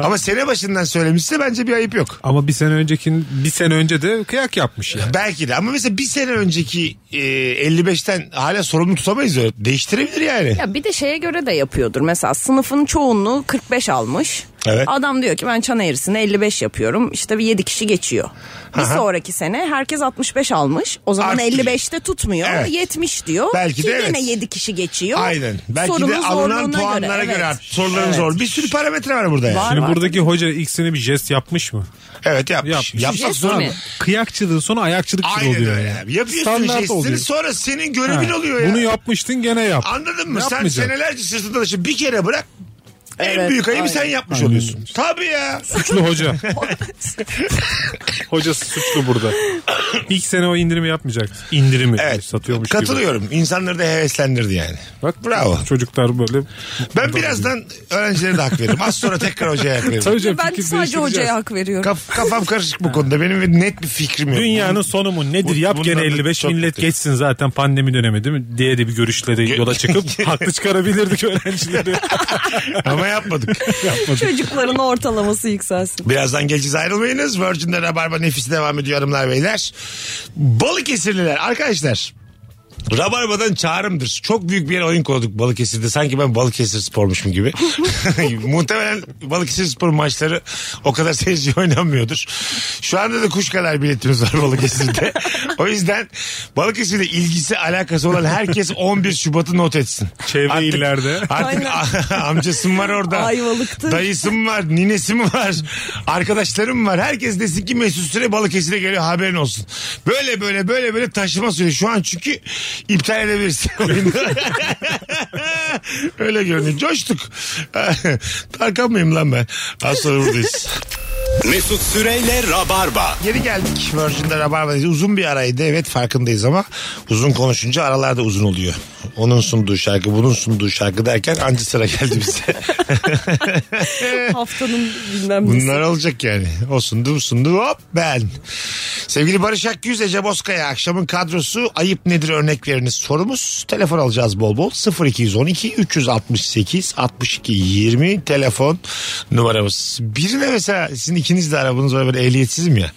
Ama sene başından söylemişse bence bir ayıp yok. Ama bir sene öncekin bir sene önce de kıyak yapmış ya. Belki de ama mesela bir sene önceki e, 55'ten hala sorumlu tutamayız öyle. Değiştirebilir yani. Ya bir de şeye göre de yapıyordur. Mesela sınıfın çoğunluğu 45 almış. Evet. Adam diyor ki ben çan eğrisini 55 yapıyorum. İşte bir 7 kişi geçiyor. Bir Aha. sonraki sene herkes 65 almış. O zaman Arttırıyor. 55'te tutmuyor. Evet. 70 diyor. Belki ki de evet. yine 7 kişi geçiyor. Aynen. Belki de Sorunun alınan zorluğuna puanlara göre, evet. artık soruların Evet. zor. Bir sürü parametre var burada yani. Var. Şimdi buradaki hoca ilk sene bir jest yapmış mı? Evet yapmış. Yapmış. Yapmak Jest zorunda. mi? Kıyakçılığın sonu ayakçılıkçı Aynen oluyor. öyle. yani. Yapıyorsun Standart jestini oluyor. sonra senin görevin Ha, oluyor ya. Bunu yapmıştın gene yap. Anladın mı? Sen Yapmayacaksın. senelerce sırtında taşı bir kere bırak. en Evet, büyük ayıbı aynen. sen yapmış Aynen. oluyorsun. Tabii ya. Suçlu hoca. Hocası suçlu burada. İlk sene o indirimi yapmayacak. İndirimi Evet. satıyormuş gibi. Katılıyorum. İnsanları da heveslendirdi yani. Bak Bravo. Çocuklar böyle. Ben birazdan öğrencilere de hak veririm. Az sonra tekrar hocaya hak veririm. Tabii canım, Ben fikir sadece değiştireceğiz. hocaya hak veriyorum. Kaf- kafam karışık bu konuda. Benim net bir fikrim yok. Dünyanın sonu mu nedir? Bu- Yap gene bundan da 55 çok millet mutluyum. geçsin zaten pandemi dönemi değil mi? Diye de bir görüşle de yola çıkıp haklı çıkarabilirdik öğrencileri. Ama yapmadık. Çocukların ortalaması yükselsin. Birazdan geleceğiz ayrılmayınız. Virgin'de Rabarba nefis devam ediyor hanımlar beyler. Balıkesirliler arkadaşlar Rabarba'dan çağrımdır. Çok büyük bir yere oyun koyduk Balıkesir'de. Sanki ben Balıkesir spormuşum gibi. Muhtemelen Balıkesir spor maçları o kadar seyirci oynanmıyordur. Şu anda da kuş kadar biletimiz var Balıkesir'de. o yüzden Balıkesir'de ilgisi alakası olan herkes 11 Şubat'ı not etsin. Çevre Artık- illerde. Artık amcasım var orada. Ayvalık'tır. Dayısım var, ninesim var, arkadaşlarım var. Herkes desin ki Mesut Süre Balıkesir'e geliyor haberin olsun. Böyle böyle böyle böyle taşıma sürüyor şu an çünkü iptal edebilirsin oyunu. Öyle görünüyor. Coştuk. Tarkan mıyım lan ben? Az sonra buradayız. Mesut Süreyle Rabarba. Geri geldik. Virgin'de Rabarba'dayız. Uzun bir araydı. Evet farkındayız ama uzun konuşunca aralar da uzun oluyor. Onun sunduğu şarkı, bunun sunduğu şarkı derken anca sıra geldi bize. Haftanın bilmem nesi. Bunlar olacak yani. O sundu bu sundu hop ben. Sevgili Barış Akgüz, Ece Bozkaya akşamın kadrosu ayıp nedir örnek veriniz sorumuz. Telefon alacağız bol bol 0212 368 62 20 telefon numaramız. Birine mesela sizin ikiniz de arabanız var böyle ehliyetsizim ya.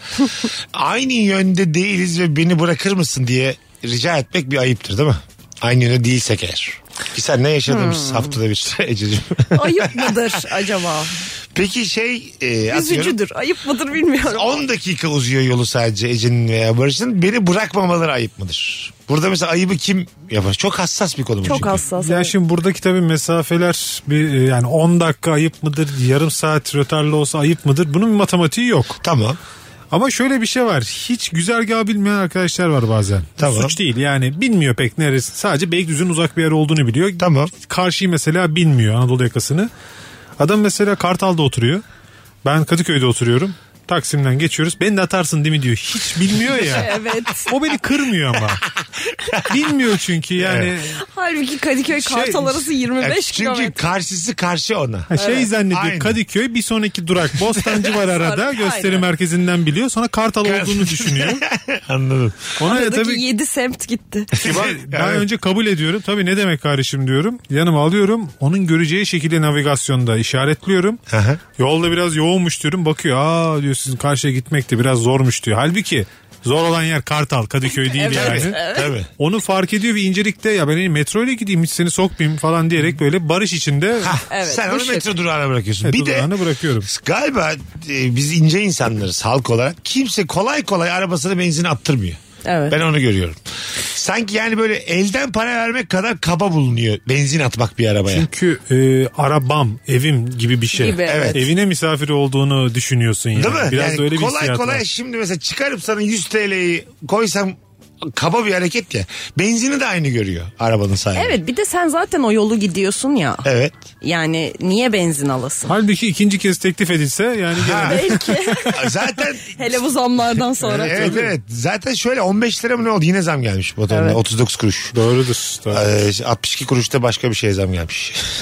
Aynı yönde değiliz ve beni bırakır mısın diye rica etmek bir ayıptır değil mi? Aynı yönde değilsek eğer. Ki sen ne yaşadığımız haftada bir Ececiğim. Ayıp mıdır acaba? Peki şey e, atıyorum. Üzücüdür. Ayıp mıdır bilmiyorum. 10 dakika uzuyor yolu sadece Ece'nin veya Barış'ın. Beni bırakmamaları ayıp mıdır? Burada mesela ayıbı kim yapar? Çok hassas bir konu bu Çok çünkü. hassas. Ya şimdi buradaki tabii mesafeler bir e, yani 10 dakika ayıp mıdır? Yarım saat rötarlı olsa ayıp mıdır? Bunun bir matematiği yok. Tamam. Ama şöyle bir şey var. Hiç güzergahı bilmeyen arkadaşlar var bazen. Tamam. Suç değil yani. Bilmiyor pek neresi. Sadece Beylikdüzü'nün uzak bir yer olduğunu biliyor. Tamam. Karşıyı mesela bilmiyor Anadolu yakasını. Adam mesela Kartal'da oturuyor. Ben Kadıköy'de oturuyorum. Taksim'den geçiyoruz. Beni de atarsın değil mi diyor. Hiç bilmiyor ya. Evet. O beni kırmıyor ama. Bilmiyor çünkü yani. Halbuki Kadıköy Kartal arası 25 Evet, Şey, e, çünkü kilometre. karşısı karşı ona. Ha, Şey zannediyor Aynen. Kadıköy bir sonraki durak Bostancı var arada Aynen. gösteri merkezinden biliyor sonra Kartal olduğunu düşünüyor. Anladım. Ona ya Aradaki tabii 7 semt gitti. Ben önce kabul ediyorum. Tabii ne demek kardeşim diyorum. Yanıma alıyorum. Onun göreceği şekilde navigasyonda işaretliyorum. hı. Yolda biraz yoğunmuş diyorum. Bakıyor aa diyor sizin karşıya gitmek de biraz zormuş diyor. Halbuki zor olan yer Kartal Kadıköy değil Tabii, yani. tabii. Onu fark ediyor ve incelikte ya ben en iyi metro ile gideyim hiç seni sokmayayım falan diyerek böyle barış içinde Hah, Evet, sen onu bu metro durağına bırakıyorsun. Evet, bir de durağına bırakıyorum. galiba e, biz ince insanlarız halk olarak. Kimse kolay kolay arabasına benzin attırmıyor. Evet. Ben onu görüyorum. Sanki yani böyle elden para vermek kadar kaba bulunuyor benzin atmak bir arabaya. Çünkü e, arabam, evim gibi bir şey. Gibi, evet. Evine misafir olduğunu düşünüyorsun yani. Değil mi? Biraz yani da öyle bir kolay hissiyat kolay var. şimdi mesela çıkarıp sana 100 TL'yi koysam kaba bir hareket ya. Benzini de aynı görüyor arabanın sahibi. Evet bir de sen zaten o yolu gidiyorsun ya. Evet. Yani niye benzin alasın? Halbuki ikinci kez teklif edilse yani Ha, Belki. zaten Hele bu zamlardan sonra. evet evet. Zaten şöyle 15 lira mı ne oldu? Yine zam gelmiş motoruna. Evet. 39 kuruş. Doğrudur. doğru. Ee, 62 kuruşta başka bir şey zam gelmiş.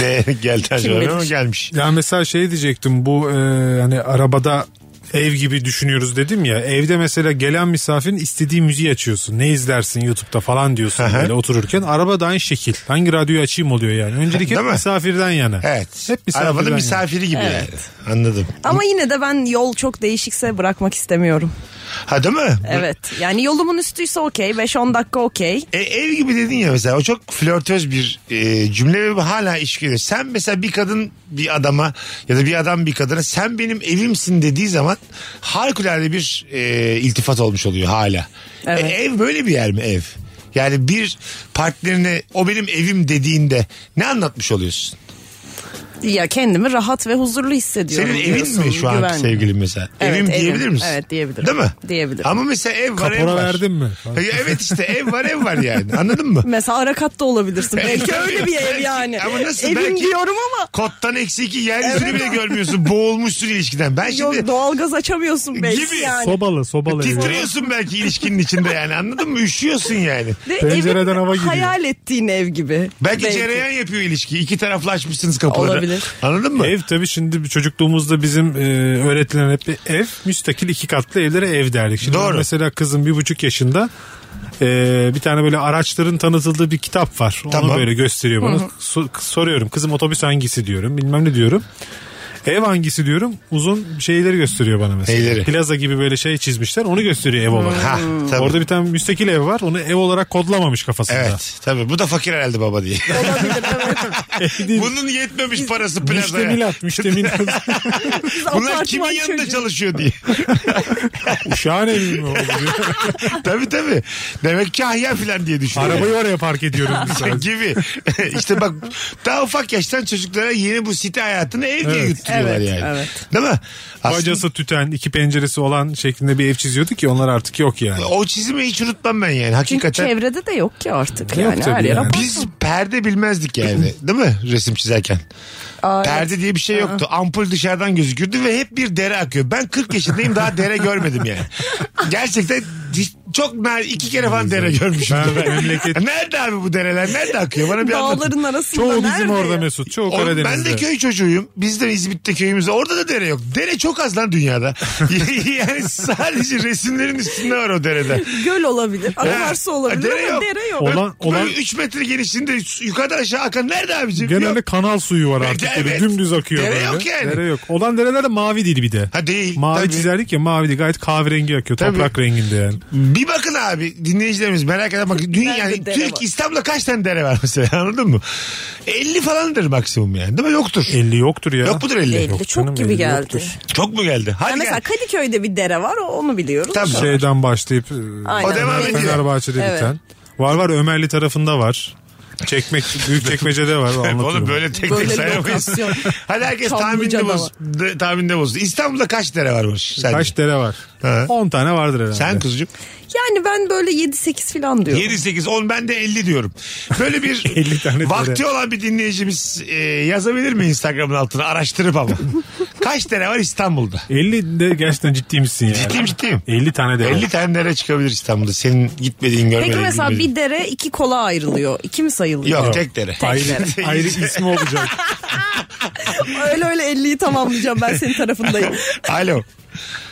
de geldi acaba ama bilir? gelmiş. Ya mesela şey diyecektim bu e, hani arabada ev gibi düşünüyoruz dedim ya. Evde mesela gelen misafirin istediği müziği açıyorsun. Ne izlersin YouTube'da falan diyorsun Aha. böyle otururken. Arabada aynı şekil. Hangi radyoyu açayım oluyor yani. Öncelik hep Değil mi? misafirden yana. Evet. Hep misafirden Arabanın yana. misafiri gibi Evet. yani. Anladım. Ama yine de ben yol çok değişikse bırakmak istemiyorum. Ha değil mi? Evet. Yani yolumun üstüyse okey. 5-10 dakika okey. E, ev gibi dedin ya mesela o çok flörtöz bir e, cümle ve hala iş görüyor. Sen mesela bir kadın bir adama ya da bir adam bir kadına sen benim evimsin dediği zaman harikulade bir e, iltifat olmuş oluyor hala. Evet. E, ev böyle bir yer mi ev? Yani bir partnerine o benim evim dediğinde ne anlatmış oluyorsun? Ya kendimi rahat ve huzurlu hissediyorum. Senin evin mi diyorsun, şu an güvenli. sevgilin mesela? Evet, evim, evim. diyebilir misin? Evet, diyebilirim. Değil mi? Diyebilirim. Ama mesela ev var ev Kapora var. verdin mi? E, Evet işte ev var ev var yani anladın mı? Mesela Arakat'ta olabilirsin. Belki öyle bir ev Belki. yani. Ama nasıl? Evim Belki- diyorum ama Kottan eksi iki yeryüzünü Evet. bile görmüyorsun. Boğulmuşsun ilişkiden. Ben yok, şimdi doğalgaz açamıyorsun belki Gibi. yani. Sobalı sobalı. evi. titriyorsun belki ilişkinin içinde yani anladın mı? Üşüyorsun yani. Ve Pencereden evin hava giriyor. Hayal ettiğin ev gibi. Belki, cereyan yapıyor ilişkiyi. İki taraflı açmışsınız kapıları. Olabilir. Anladın mı? Ev tabii şimdi bir çocukluğumuzda bizim e, öğretilen hep bir ev. Müstakil iki katlı evlere ev derdik. Şimdi ben Doğru. Mesela kızım bir buçuk yaşında e, bir tane böyle araçların tanıtıldığı bir kitap var. Tamam. Onu böyle gösteriyor bana. So- soruyorum kızım otobüs hangisi diyorum bilmem ne diyorum. Ev hangisi diyorum uzun şeyleri gösteriyor bana mesela. Neyleri? Plaza gibi böyle şey çizmişler onu gösteriyor ev olarak. Ha, Hmm. tabii. Orada bir tane müstakil ev var onu ev olarak kodlamamış kafasında. Evet tabii bu da fakir herhalde baba diye. Değil. Bunun yetmemiş parası plazaya. Müştemilat, müştemilat. Bunlar Apartman kimin yanında çocuğu. çalışıyor diye. Uşağın evi mi oldu? diyor. tabii tabii. Demek kahya falan diye düşünüyor. Arabayı oraya park ediyorum. Sen gibi. işte bak daha ufak yaştan çocuklara yeni bu site hayatını ev diye Evet. yutturuyorlar Evet, yani. evet. Değil mi? Aslında Bacası tüten, iki penceresi olan şeklinde bir ev çiziyordu ki onlar artık yok yani. o çizimi hiç unutmam ben yani. Çünkü Hakikaten. çevrede de yok ki artık. Yok yani her tabii yer yani. apart- Biz perde bilmezdik yani. Değil mi? Resim çizerken. Aa, evet. Perde diye bir şey yoktu. Ampul dışarıdan gözükürdü ve hep bir dere akıyor. Ben 40 yaşındayım daha dere görmedim yani. Gerçekten hiç- çok ner- iki kere falan dere görmüşüm. Ben memleket- Nerede abi bu dereler? Nerede akıyor? Bana bir anlatın. Dağların arasında Çoğu bizim nerede orada ya? Mesut. Çoğu Oğlum Karadeniz'de. ben de köy çocuğuyum. Biz de İzmit'te köyümüzde. Orada da dere yok. Dere çok az lan dünyada. yani sadece resimlerin üstünde var o derede. Göl olabilir, akarsu Ha, olabilir dere ama yok. dere yok. Olan- Böyle olan- 3 metre genişliğinde su- yukarıdan aşağı akan nerede abicim? Genelde Yok. kanal suyu var artık. Evet. Böyle dümdüz akıyor Dere böyle. yok yani. Dere yok. Olan dereler de mavi değil bir de. Ha değil. Mavi tabii. çizerdik ya mavi değil gayet kahverengi akıyor. Tabii. Toprak renginde yani. Bir bakın abi dinleyicilerimiz merak eden bakın. Dünya Nerede yani dere Türk var? İstanbul'da kaç tane dere var mesela anladın mı? 50 falandır maksimum yani değil mi? Yoktur. 50 yoktur ya. Yok mudur 50? Belli, Yok canım, çok gibi belli geldi. yoktur. Çok mu geldi? Hadi Yani mesela şey gel. Kadıköy'de bir dere var o- onu biliyoruz. Tabii. Sonra- Şeyden başlayıp e, Aynen. O devam Evet. ediyor. Fenerbahçe'de Evet. biten. Var var Ömerli tarafında var. Çekmek büyük çekmecede var. Anlatıyorum. Oğlum böyle tek tek Böyle sayamayız. lokasyon. Hadi herkes Çamlıca'da tahminde boz, de- tahminde bozdu. İstanbul'da kaç dere varmış sence? Kaç dere var? Ha. 10 tane vardır herhalde. Sen kuzucuk. Yani ben böyle 7-8 falan diyorum. 7 8 10 ben de 50 diyorum. Böyle bir 50 tane vakti dere. olan bir dinleyicimiz e, yazabilir mi Instagram'ın altına araştırıp ama. kaç dere var İstanbul'da? 50 de gerçekten ciddi misin yani? Ciddiyim ciddiyim. 50 tane dere. 50 tane dere çıkabilir İstanbul'da. Senin gitmediğin görmediğin. Peki mesela bilmediğin. bir dere iki kola ayrılıyor. İki mi sayılıyor? Yok, tek dere. Ayrı, ayrı ismi olacak. Öyle öyle 50'yi tamamlayacağım ben senin tarafındayım. Alo.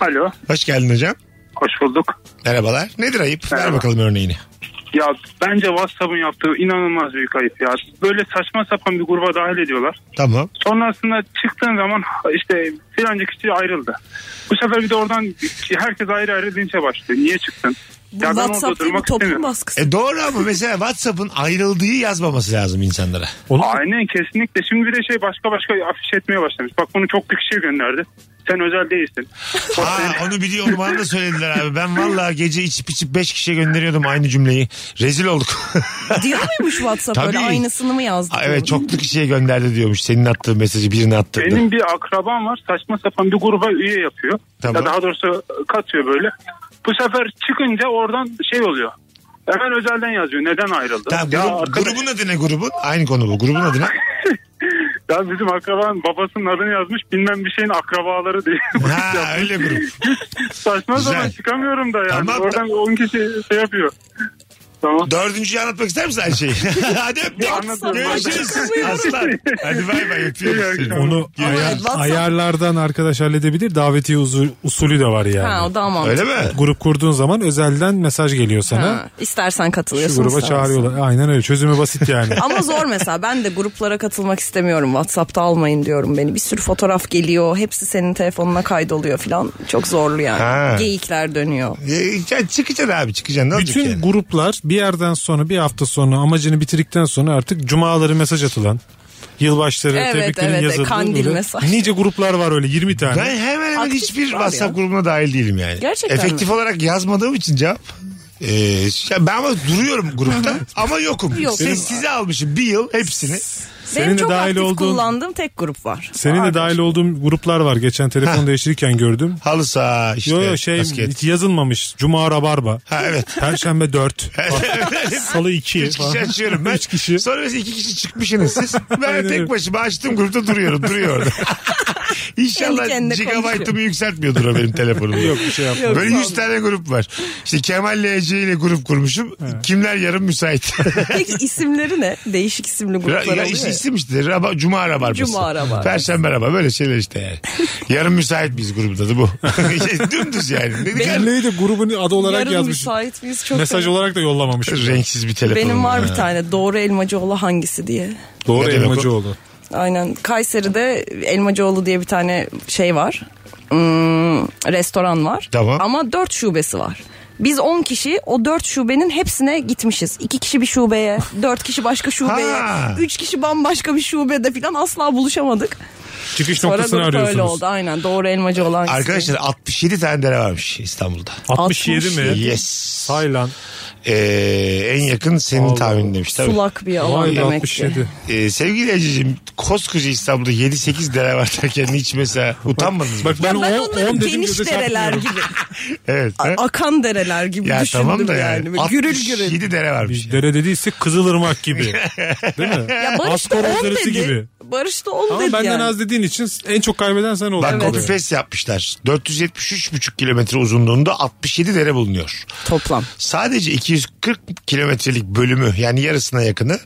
Alo. Hoş geldin hocam. Hoş bulduk. Merhabalar. Nedir ayıp? Ver Merhaba. bakalım örneğini. Ya bence WhatsApp'ın yaptığı inanılmaz büyük ayıp ya. Böyle saçma sapan bir gruba dahil ediyorlar. Tamam. Sonrasında çıktığın zaman işte filanca kişi ayrıldı. Bu sefer bir de oradan herkes ayrı ayrı linçe başlıyor. Niye çıktın? Bu Ya ben orada WhatsApp değil bu durmak toplum istemiyorum. baskısı. E doğru ama mesela WhatsApp'ın ayrıldığı yazmaması lazım insanlara. Onu Aynen kesinlikle. Şimdi bir de şey başka başka afiş etmeye başlamış. Bak bunu çok bir kişiye gönderdi. Sen özel değilsin. Aa, onu biliyorum bana da söylediler abi. Ben vallahi gece içip içip 5 kişiye gönderiyordum aynı cümleyi. Rezil olduk. Diyor muymuş WhatsApp Tabii. öyle aynısını mı yazdı? Aa, evet çoklu kişiye gönderdi diyormuş. Senin attığın mesajı birine attırdı. Benim bir akrabam var. Saçma sapan bir gruba üye yapıyor. Tamam. Ya daha doğrusu katıyor böyle. Bu sefer çıkınca oradan şey oluyor. Hemen özelden yazıyor. Neden ayrıldı? Tamam, ya, grup- arkadaş- grubun adı ne grubun? Aynı konu bu. Grubun adı ne? ya bizim akrabanın babasının adını yazmış. Bilmem bir şeyin akrabaları diye. ha öyle grup. Saçma Güzel. zaman çıkamıyorum da yani. Tamam, Oradan 10 kişi şey yapıyor. Tamam. Dördüncüyü anlatmak ister misin her şeyi? Hadi öptük. Anlatıyorum. Görüşürüz. Hadi. Aslan. Hadi bay bay. Öpüyoruz seni. onu Görüşürüz. ayar- WhatsApp- ayarlardan arkadaş halledebilir. Davetiye uzu- usulü de var yani. Ha o daha mantıklı. Öyle mi? Grup kurduğun zaman özelden mesaj geliyor sana. Ha, istersen Şu katılıyorsun. gruba istemezsen. çağırıyorlar. Aynen öyle. Çözümü basit yani. Ama zor mesela ben de gruplara katılmak istemiyorum. Whatsapp'ta almayın diyorum beni. Bir sürü fotoğraf geliyor. Hepsi senin telefonuna kaydoluyor falan. Çok zorlu yani. Ha. Geyikler dönüyor. Ee, sen çıkacaksın abi çıkacaksın. Ne olacak Bütün yani? gruplar bir yerden sonra bir hafta sonra amacını bitirdikten sonra artık cumaları mesaj atılan. Yılbaşları Evet, tebriklerin evet, yazıldığı kandil böyle mesaj. Nice gruplar var öyle 20 tane. Ben hemen hemen Hani Aktif hiçbir var WhatsApp ya. grubuna dahil değilim yani. Gerçekten Efektif olarak yazmadığım için cevap. Ee, ya ben ama duruyorum grupta ama yokum. Yok. Sessize almışım bir yıl hepsini. Senin Benim de çok dahil aktif olduğun- kullandığım tek grup var. Senin de Vardır. dahil olduğum gruplar var. Geçen telefon değiştirirken gördüm. Halı saha işte. Yo yo şey basket. hiç yazılmamış. Cuma rabarba. Ha evet. Perşembe 4. Salı 2. Üç kişi açıyorum ben. Üç kişi. Sonra mesela iki kişi çıkmışsınız siz. Ben Aynen de öyle. tek başıma açtım grupta duruyorum. Duruyor orada. Kendi İnşallah kendine gigabaytımı konuşuyor. yükseltmiyordur o benim telefonumda. Yok bir şey yapmadım. Böyle 100 tane grup var. İşte Kemal ile Ece ile grup kurmuşum. Kimler yarın müsait? Peki isimleri ne? Değişik isimli gruplar ya, oluyor. ya Ya, işte isim işte. Raba, Cuma rabarbası. Cuma rabarbası. Perşembe rabarbası. Böyle şeyler işte yani. yarın müsait biz grubunda da bu. Dümdüz yani. Dedik ya, Cümleyi de grubun adı olarak Yarın yazmış. müsait miyiz? Çok Mesaj fena. olarak da yollamamış. renksiz bir telefon. Benim var ya. bir tane doğru elmacıoğlu hangisi diye. Doğru Ne demek o? elmacı oldu. Aynen. Kayseri'de Elmacıoğlu diye bir tane şey var. Hmm, restoran var. Tamam. Ama dört şubesi var. Biz 10 kişi o dört şubenin hepsine gitmişiz. 2 kişi bir şubeye, dört kişi başka şubeye, Ha. üç kişi bambaşka bir şubede falan asla buluşamadık. Çıkış Sonra noktasını grup öyle arıyorsunuz. oldu aynen. Doğru elmacı olan kişi. Arkadaşlar 67 tane dere varmış İstanbul'da. 67 mi? Yes. Tayland. Ee, en yakın senin Allah. tahminin demiş. Tabii. Sulak bir alan Vay be, demek 67. ki. Ee, sevgili Ececiğim koskoca İstanbul'da 7-8 dere var derken hiç mesela utanmadınız Bak mı? ben Ya ben 10 onları dedim geniş göze dereler çarpmıyorum. gibi, Evet. ha? akan dereler gibi Ya düşündüm tamam da yani. yani. Böyle Gürül 67 gürül. dere varmış. Biz dere dediyse Kızılırmak gibi. Değil mi? Ya Barış da 10 Astor Ozerisi dedi. gibi. Barış da 10 Ama dedi benden yani. az dediğin için en çok kaybeden sen oldun. Bak Evet. copy paste yapmışlar. 473,5 kilometre uzunluğunda 67 dere bulunuyor. Toplam. Sadece 240 kilometrelik bölümü yani yarısına yakını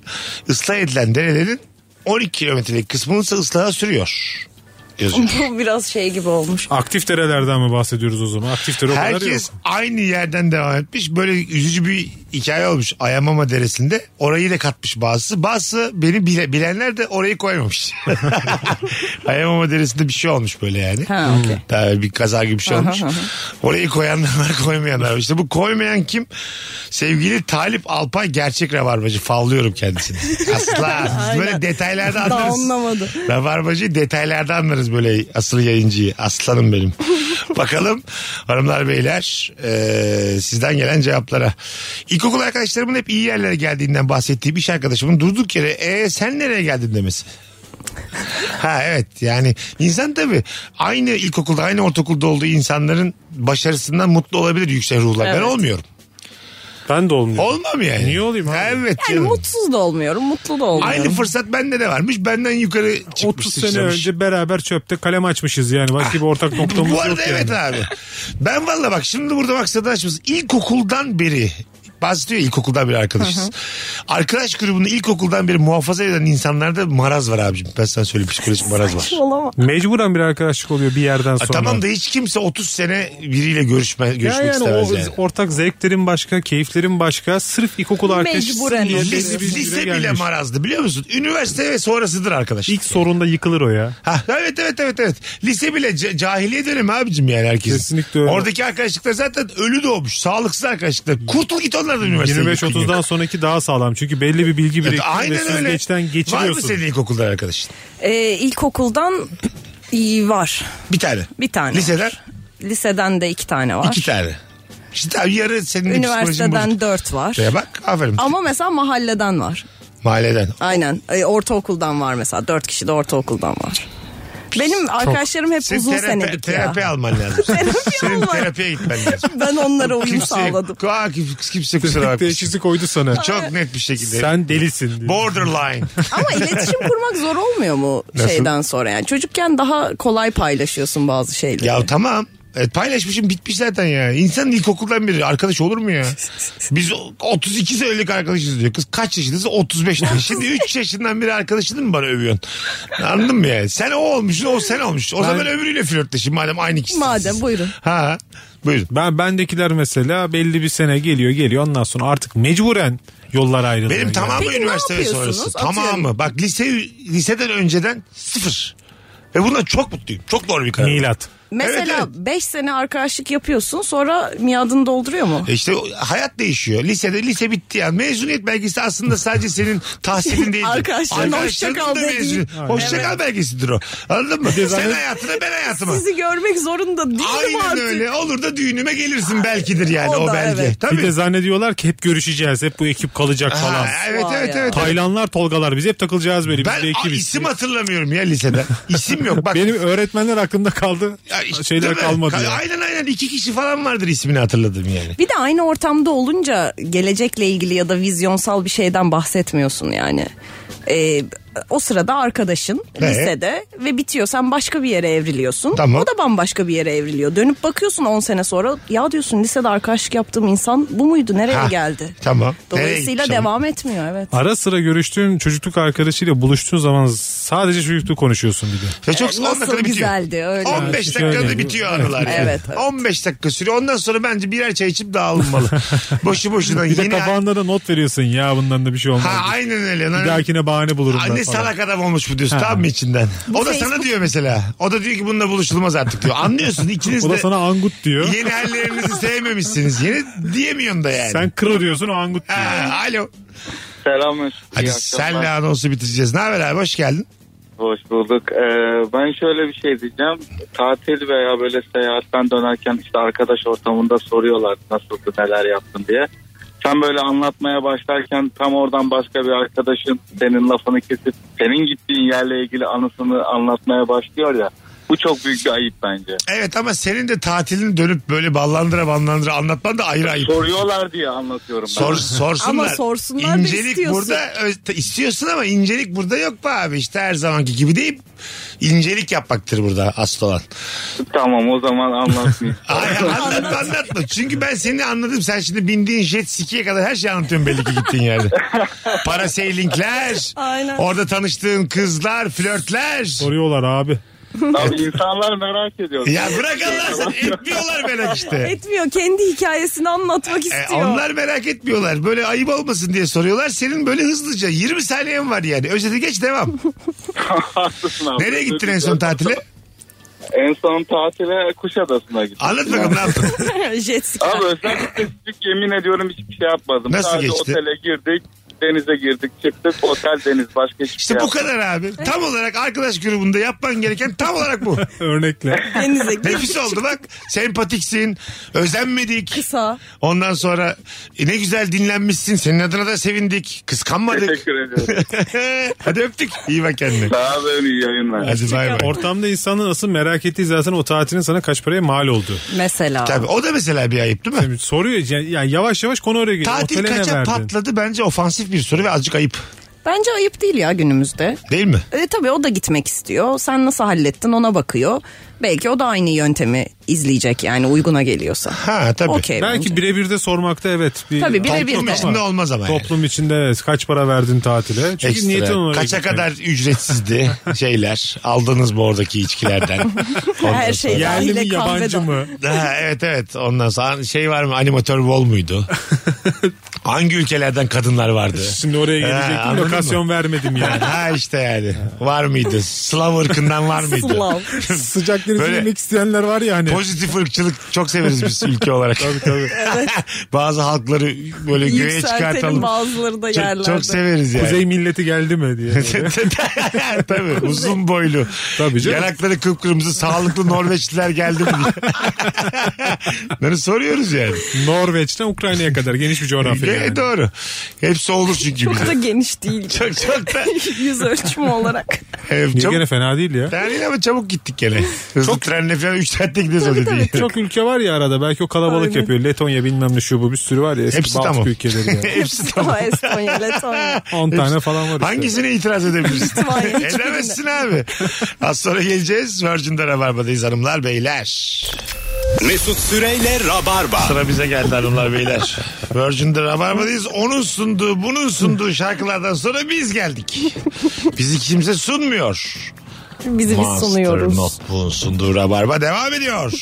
ıslah edilen derelerin 12 kilometrelik kısmını ise ıslaha sürüyor. Yazıyor. Bu biraz şey gibi olmuş. Aktif derelerden mi bahsediyoruz o zaman? Aktif dere o kadar Herkes yok. aynı yerden devam etmiş. Böyle üzücü bir hikaye olmuş Ayamama Deresi'nde. Orayı da katmış bazısı. Bazısı beni bile, bilenler de orayı koymamış. Ayamama Deresi'nde bir şey olmuş böyle yani. Ha, okey. Daha bir kaza gibi bir şey olmuş. Orayı koyanlar var koymayanlar var. İşte bu koymayan kim? Sevgili Talip Alpay gerçek rabarbacı. Favlıyorum kendisini. Asla. Biz böyle detaylarda Daha anlarız. anlamadı. Rabarbacı detaylarda anlarız böyle asıl yayıncıyı. Aslanım benim. Bakalım hanımlar beyler e, sizden gelen cevaplara. İlkokul arkadaşlarımın hep iyi yerlere geldiğinden bahsettiğim iş arkadaşımın durduk yere e, sen nereye geldin demesi. Ha evet yani insan tabii aynı ilkokulda aynı ortaokulda olduğu insanların başarısından mutlu olabilir yüksek ruhlar. Ben Evet. olmuyorum. Ben de olmuyorum. Olmam yani. Niye olayım abi? Evet Yani canım. mutsuz da olmuyorum, mutlu da olmuyorum. Aynı fırsat bende de varmış. Benden yukarı çıkmış. 30 sene sıçramış. önce beraber çöpte kalem açmışız yani. Başka bir ortak noktamız Bu yok arada evet yani. abi. Ben valla bak şimdi burada maksadı açmışız. İlkokuldan beri Bazı diyor ya, ilkokuldan beri arkadaşız. Arkadaş grubunu ilkokuldan beri muhafaza eden insanlarda maraz var abicim. Ben sana söyleyeyim psikolojik maraz var. Olamaz. Mecburen bir arkadaşlık oluyor bir yerden Ha, sonra. tamam da hiç kimse 30 sene biriyle görüşme, Ya görüşmek yani istemez o yani. ortak zevklerin başka, keyiflerin başka. Sırf ilkokul arkadaşı. Mecburen sınırlı oluyor. belli Lise, bir süre lise bile gelmiş. marazdı biliyor musun? Üniversite ve sonrasıdır arkadaş. İlk sorunda yıkılır o ya. Ha, evet evet evet evet. Lise bile ca- cahiliye dönemi abicim yani herkes. Kesinlikle öyle. Oradaki arkadaşlıklar zaten ölü doğmuş. Sağlıksız arkadaşlıklar. Kurtul git onlardan üniversiteye. 25-30'dan sonraki daha sağlam. Çünkü belli bir bilgi Evet, birikimi ve aynen öyle. hani süzgeçten Var mı geçiriyorsun. senin ilkokulda arkadaşın? Ee, ilkokuldan iyi var. Bir tane. Bir tane. Liseden? Liseden de iki tane var. İki tane. İşte abi yarı senin de psikolojin bozuk. Üniversiteden dört var. Ya bak aferin. Ama mesela mahalleden var. Mahalleden. Aynen. Ee, ortaokuldan var mesela. Dört kişi de ortaokuldan var. Benim arkadaşlarım hep Senin uzun terapi, senelik terapi ya. Şey alman lazım. senin alman. terapiye gitmen lazım. Ben onlara uyum Kimse, sağladım. Aa, kimse, kimse kusura Teşhislik bakmasın. teşhisi koydu sana. Çok net bir şekilde. Sen delisin. diyor. Borderline. Ama iletişim kurmak zor olmuyor mu Nasıl? şeyden sonra? Yani çocukken daha kolay paylaşıyorsun bazı şeyleri. ya tamam. E, paylaşmışım bitmiş zaten ya. İnsanın ilkokuldan beri arkadaş olur mu ya? Biz o- 32 senelik arkadaşız diyor. Kız kaç yaşındasın? 35 yaşında. Şimdi 3 yaşından beri arkadaşını mı bana övüyorsun? Anladın mı yani? Sen o olmuşsun, o sen olmuşsun. O zaman öbürüyle flörtleşin madem aynı kişisiniz. Madem buyurun. Ha. Buyurun. Ben bendekiler mesela belli bir sene geliyor geliyor ondan sonra artık mecburen yollar ayrılıyor. Benim Yani. tamamı Peki ne üniversite ve yapıyorsunuz? sonrası. Atıyorum. Tamamı. Bak lise liseden önceden sıfır. Ve bundan çok mutluyum. Çok doğru bir karar. Milat. Evet, Mesela evet. 5 sene arkadaşlık yapıyorsun sonra miadını dolduruyor mu? E İşte o- hayat değişiyor. Lisede lise bitti yani. Mezuniyet belgesi aslında sadece senin tahsilin değil. Arkadaşlarına hoşça kal dediğin. Hoşça kal belgesidir o. Anladın mı? Sen hayatına ben hayatıma. Sizi görmek zorunda değilim Aynen artık. öyle. Olur da düğünüme gelirsin belkidir yani o, O da belge. evet. Tabii. Bir de zannediyorlar ki hep görüşeceğiz. Hep bu ekip kalacak Ha, falan. evet Vay evet ya. evet. Taylanlar, Tolgalar biz hep takılacağız böyle. Ben biz de a, ekibiz. isim hatırlamıyorum ya lisede. İsim yok. Bak Benim öğretmenler aklımda kaldı. Ya işte şeyler değil mi? kalmadı Ka- ya. Aynen aynen iki kişi falan vardır ismini hatırladım yani. Bir de aynı ortamda olunca gelecekle ilgili ya da vizyonsal bir şeyden bahsetmiyorsun yani. Ee, o sırada arkadaşın Ee? lisede ve bitiyor. Sen başka bir yere evriliyorsun. Tamam. O da bambaşka bir yere evriliyor. Dönüp bakıyorsun 10 sene sonra ya diyorsun lisede arkadaşlık yaptığım insan bu muydu? Nereye Ha, geldi? Tamam. Nereye Dolayısıyla gitmiş devam etmiyor evet. Ara sıra görüştüğün çocukluk arkadaşıyla buluştuğun zaman sadece çocukluk konuşuyorsun bir de. Ve çok Ee, 10 dakikada nasıl bitiyor. güzeldi, öyle. 15 Çünkü dakikada öyle. bitiyor anılar. yani. Evet, evet. 15 dakika sürüyor. Ondan sonra bence birer çay içip dağılmalı. Boşu boşuna Bir de yeni... kafanda da not veriyorsun ya bundan da bir şey olmaz. Ha aynen öyle. bir Lan- dahakine bahane bulurum ben. Anne falan. salak adam olmuş bu diyorsun Ha. tam mı içinden? O da sana Facebook- diyor mesela. O da diyor ki bununla buluşulmaz artık diyor. Anlıyorsun ikiniz O da de sana angut diyor. yeni hallerinizi sevmemişsiniz. Yeni diyemiyorsun da yani. Sen kro diyorsun o angut diyor. Ha, alo. Selam Mesut. Hadi İyi akşamlar. senle anonsu bitireceğiz. Ne haber abi hoş geldin. Hoş bulduk. Ee, ben şöyle bir şey diyeceğim. Tatil veya böyle seyahatten dönerken işte arkadaş ortamında soruyorlar nasıldı neler yaptın diye. Sen böyle anlatmaya başlarken tam oradan başka bir arkadaşın senin lafını kesip senin gittiğin yerle ilgili anısını anlatmaya başlıyor ya. Bu çok büyük bir ayıp bence. Evet ama senin de tatilini dönüp böyle ballandıra ballandıra anlatman da ayrı ayıp. Soruyorlar diye anlatıyorum. ben. Sor, sorsunlar. Ama sorsunlar da İncelik istiyorsun. burada ö- istiyorsun ama incelik burada yok be abi. İşte her zamanki gibi değil. İncelik yapmaktır burada asıl olan. Tamam o zaman anlatmayayım. Ay, anlat anlatma. Çünkü ben seni anladım. Sen şimdi bindiğin jet ski'ye kadar her şeyi anlatıyorsun belli ki gittiğin yerde. Parasailingler. Aynen. Orada tanıştığın kızlar, flörtler. Soruyorlar abi. Abi insanlar merak ediyor. Ya bırak Allah sen etmiyorlar merak işte. Etmiyor. Kendi hikayesini anlatmak E, istiyor. onlar merak etmiyorlar. Böyle ayıp olmasın diye soruyorlar. Senin böyle hızlıca 20 saniyen var yani. Özeti geç devam. Haklısın abi. Nereye gittin en son tatile? En son tatile Kuşadası'na gittim. Anlat bakalım ne yaptın? Jet ski. Abi özel spesifik yemin ediyorum hiçbir şey yapmadım. Nasıl Sadece geçti? otele girdik, denize girdik, çıktık. Otel, deniz başka hiçbir İşte şey bu kadar abi. Tam olarak arkadaş grubunda yapman gereken tam olarak bu. Örnekle. Denize gir. Nefis oldu bak. Sempatiksin. Özenmedik. Kısa. Ondan sonra e, ne güzel dinlenmişsin. Senin adına da sevindik. yapmadım. Kıskanmadık. Teşekkür ediyorum. Hadi öptük. İyi bak kendine. Daha da iyi yayınlar. Hadi bay bay. Ortamda insanın asıl merak ettiği zaten o tatilin sana kaç paraya mal oldu. Mesela. Tabii o da mesela bir ayıp değil mi? Yani soruyor yani yani yavaş yavaş konu oraya geliyor. Tatil Otele ne kaça verdin? patladı bence ofansif bir soru ve azıcık ayıp. Bence ayıp değil ya günümüzde. Değil mi? E, tabii o da gitmek istiyor. Sen nasıl hallettin ona bakıyor. Belki o da aynı yöntemi izleyecek yani uyguna geliyorsa. Ha tabii. Okey bence. Belki birebir de sormakta evet. Bir Tabii, birebir Toplum de. içinde İçinde olmaz olmaz ama. yani. Toplum içinde evet, kaç para verdin tatile? Çünkü Ekstra. niyetin oraya Kaça gitmek. kadar ücretsizdi şeyler? Aldınız mı oradaki içkilerden? Her şey Yerli mi dahil yabancı kahveden. mı? Ha, evet evet ondan sonra şey var mı animatör vol muydu? Hangi ülkelerden kadınlar vardı? Şimdi oraya Ha, gelecektim anladın lokasyon mı? vermedim yani. ha işte yani var mıydı? Slav ırkından var mıydı? Slav. Sıcak denize Böyle- girmek isteyenler var ya hani. Pozitif ırkçılık çok severiz biz ülke olarak. tabii tabii. Bazı halkları böyle göğe Yükseltelim çıkartalım. bazıları da yerlerde. Çok, çok severiz yani. Kuzey milleti geldi mi diye. Tabii uzun boylu. Tabii canım. Yanakları kıpkırmızı sağlıklı Norveçliler geldi mi diye. Bunları soruyoruz yani. Norveç'ten Ukrayna'ya kadar geniş bir coğrafya. Gene yani. doğru. Hepsi olur çünkü Çok da bize. geniş değil. Çok çok da. Yüz ölçümü olarak. Evet, Niye çok gene fena değil ya. Yani ama çabuk gittik gene. Hızlı trenle falan 3 saatte gidiyoruz öyle değil. Çok ülke var ya arada belki o kalabalık Aynen. yapıyor. Letonya bilmem ne şu bu bir sürü var ya eski Hepsi Baltık tamam. ülkeleri yani. Hepsi tamam. Ama Estonya, Letonya. 10 tane falan var işte. Hangisine itiraz edebilirsin? İhtimalle hiçbirine. Edemezsin abi. Az sonra geleceğiz. Virgin'de Rabarba'dayız hanımlar beyler. Mesut Süreyle Rabarba. Sıra bize geldi hanımlar beyler. Virgin'de Rabarba'dayız. Onun sunduğu, bunun sunduğu şarkılardan sonra biz geldik. Bizi kimse sunmuyor. Bizi biz sunuyoruz. Notebook'un sunduğu Rabarba devam ediyor.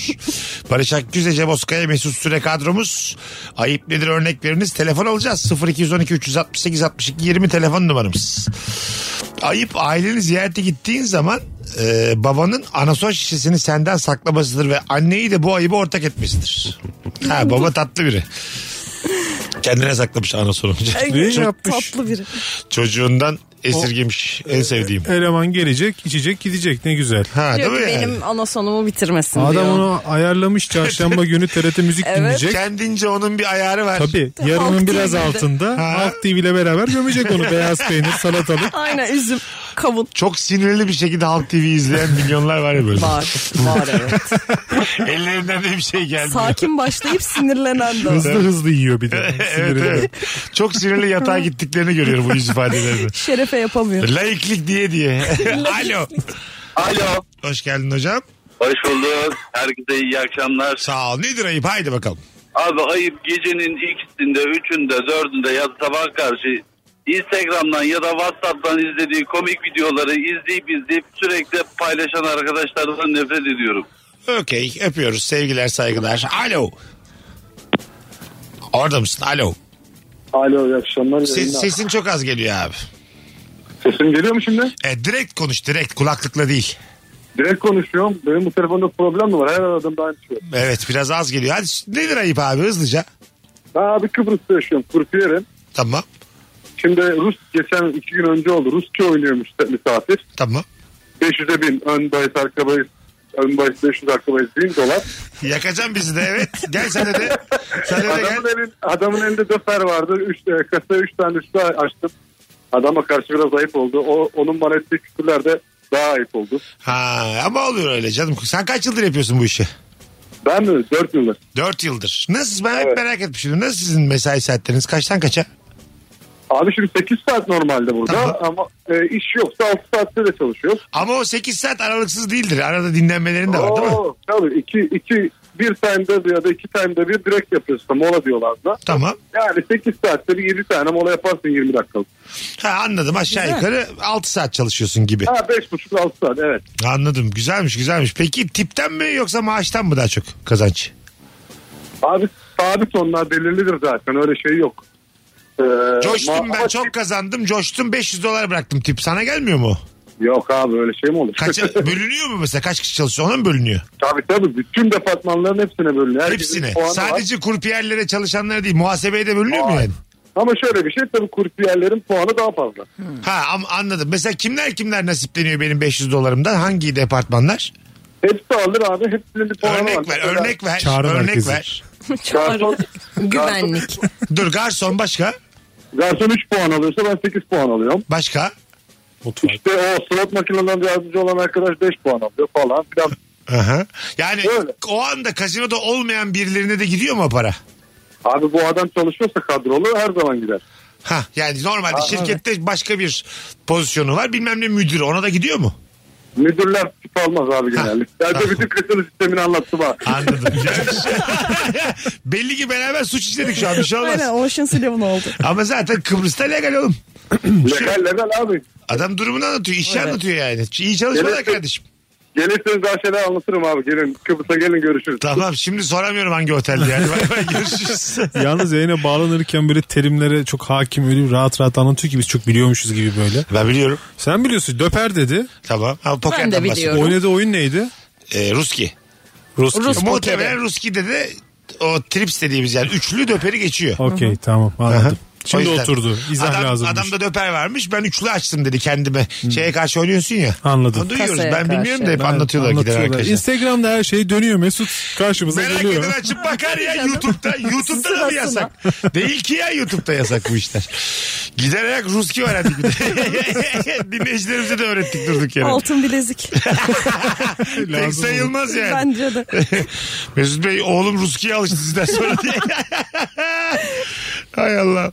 Barış Akgüz, Ece Bozkaya, Mesut Süre kadromuz. Ayıp nedir örnek veriniz? Telefon alacağız. 0212 368 62 20 telefon numaramız. Ayıp aileni ziyarete gittiğin zaman e, babanın anason şişesini senden saklamasıdır ve anneyi de bu ayıba ortak etmesidir. Ha baba tatlı biri. Kendine saklamış anasonu. Ay, Ne çok yapmış? tatlı biri. Çocuğundan esirgemiş. e, En sevdiğim. Eleman gelecek, içecek, gidecek ne güzel. Ha, değil Diyor mi ki yani? benim anasonumu bitirmesin Adam diyor. onu ayarlamış çarşamba günü TRT müzik Evet. dinleyecek. Kendince onun bir ayarı var. Tabii Halk yarının biraz TV'de. altında Ha. Halk TV ile beraber gömecek onu. Beyaz peynir, salatalık. Aynen üzüm, kavun. çok sinirli bir şekilde Halk TV izleyen milyonlar var ya böyle. Var, var evet. Ellerinden de bir şey gelmiyor. Sakin başlayıp sinirlenen de. var. Hızlı hızlı yiyor bir de. evet, evet. Çok sinirli yatağa gittiklerini görüyorum bu yüz ifadelerinde. Şerefe yapamıyor. Laiklik diye diye. Alo. Alo. Hoş geldin hocam. Hoş bulduk. Herkese iyi akşamlar. Sağ ol. Nedir ayıp? Haydi bakalım. Abi ayıp gecenin ikisinde, üçünde, dördünde ya da sabah karşı Instagram'dan ya da WhatsApp'tan izlediği komik videoları izleyip izleyip sürekli paylaşan arkadaşlardan nefret ediyorum. Okey. Öpüyoruz. Sevgiler, saygılar. Alo. Orada mısın? Alo. Alo iyi akşamlar. Se- sesin çok az geliyor abi. Sesim geliyor mu şimdi? E, direkt konuş direkt kulaklıkla değil. Direkt konuşuyorum. Benim bu telefonda problem mi var? Her aradığımda aynı şey. Evet biraz az geliyor. Hadi nedir ayıp abi hızlıca? Ben abi Kıbrıs'ta yaşıyorum. Kurfiyerim. Tamam. Şimdi Rus geçen iki gün önce oldu. Rusça oynuyormuş misafir. Tamam. 500'e bin ön bahis arka bahis ön bahis 500 arka bahis 1000 dolar. Yakacaksın bizi de evet. Gel sen de de. Sen de de gel. Adamın, elin, adamın elinde döfer vardı. Üç, e, kasaya 3 tane üstü açtım. Adama karşı biraz ayıp oldu. O, onun bana ettiği küfürler de daha ayıp oldu. Ha, ama oluyor öyle canım. Sen kaç yıldır yapıyorsun bu işi? Ben mi? 4 yıldır. 4 yıldır. Nasıl ben hep merak etmiştim. Nasıl sizin mesai saatleriniz? Kaçtan kaça? Abi şimdi 8 saat normalde burada Tamam. ama e, iş yoksa 6 saatte de çalışıyoruz. Ama o 8 saat aralıksız değildir. Arada dinlenmelerin de var değil mi? Oo, Tabii 2 2 bir time'da ya da iki time'da bir direkt yapıyorsun. Mola diyorlar da. Tamam. Yani 8 saatte bir 7 tane mola yaparsın 20 dakikalık. Ha, anladım aşağı Güzel. yukarı 6 saat çalışıyorsun gibi. Ha 5,5-6 saat evet. Anladım. Güzelmiş güzelmiş. Peki tipten mi yoksa maaştan mı daha çok kazanç? Abi sabit onlar belirlidir zaten öyle şey yok. Ee, Coştum ma- ben çok kazandım. Coştum 500 dolar bıraktım tip. Sana gelmiyor mu? Yok abi öyle şey mi olur? Kaça, bölünüyor mu mesela? Kaç kişi çalışıyor? Ona mı bölünüyor? Tabii tabii bütün departmanların hepsine bölünüyor. Herkesin Hepsine. puanı var. Sadece kurpiyerlere çalışanlara değil. Muhasebeye de bölünüyor mu yani? Ama şöyle bir şey tabii kurpiyerlerin puanı daha fazla. Ha am- anladım. Mesela kimler kimler nasipleniyor benim 500 dolarımdan? Hangi departmanlar? Hepsi alır abi hepsinin bir puanı var. Örnek ver, Mesela- örnek ver, Çağrı örnek merkezi. ver. Garson, Güvenlik. Dur garson başka? garson 3 puan alıyorsa ben 8 puan alıyorum. Başka? İşte o slot makinelerinde yardımcı olan arkadaş 5 puan alıyor falan filan. Aha. Yani Öyle. o anda kazinoda olmayan birilerine de gidiyor mu o para? Abi bu adam çalışıyorsa kadrolu her zaman gider. Ha yani normalde şirkette başka bir pozisyonu var. Bilmem ne müdürü ona da gidiyor mu? Müdürler tip almaz abi genelde. Ben de bütün kasino sistemini anlattım ha. Anladım. Güzelmiş. Belli ki beraber suç işledik şu an bir şey olmaz. Aynen Ocean's Eleven oldu. Ama zaten Kıbrıs'ta legal oğlum. Legal legal abi. Adam durumunu anlatıyor, işi anlatıyor yani. İyi çalışmalar Gerek yok. kardeşim. Gelirseniz daha şeyler anlatırım abi. Gelin Kıbrıs'a gelin görüşürüz. Tamam şimdi soramıyorum hangi otelde yani. Bay bay, görüşürüz. Yalnız yayına bağlanırken böyle terimlere çok hakim öyle rahat rahat anlatıyor ki biz çok biliyormuşuz gibi böyle. Ben biliyorum. Sen biliyorsun döper dedi. Tamam. Ama pokerden de bahsediyorum. biliyorum. Oynadığı oyun neydi? Ee, Ruski. Rus. Rus Muhtemelen Ruski'de de o trips dediğimiz yani üçlü döperi geçiyor. Okey tamam Aha. anladım. Şimdi O yüzden. oturdu. İzah adam, lazımmış. Adamda döper varmış. Ben üçlü açtım dedi kendime. Şeye karşı oynuyorsun ya. Anladım. Onu duyuyoruz. Kasaya ben bilmiyorum karşı. da hep Ben- anlatıyorlar, gider arkadaşlar. Instagram'da her şey dönüyor Mesut karşımıza Merak geliyor. eden açıp bakar ya YouTube'da. YouTube'da da mı Sırasına. yasak? Değil ki ya YouTube'da yasak bu işler. Gider ayak Ruski öğrendik. bir de. Dinleyicilerimize de öğrettik durduk yere. Altın bilezik. Pek sayılmaz yani. Bence de. Mesut Bey oğlum Ruski'ye alıştı sizden sonra diye. Hay Allah.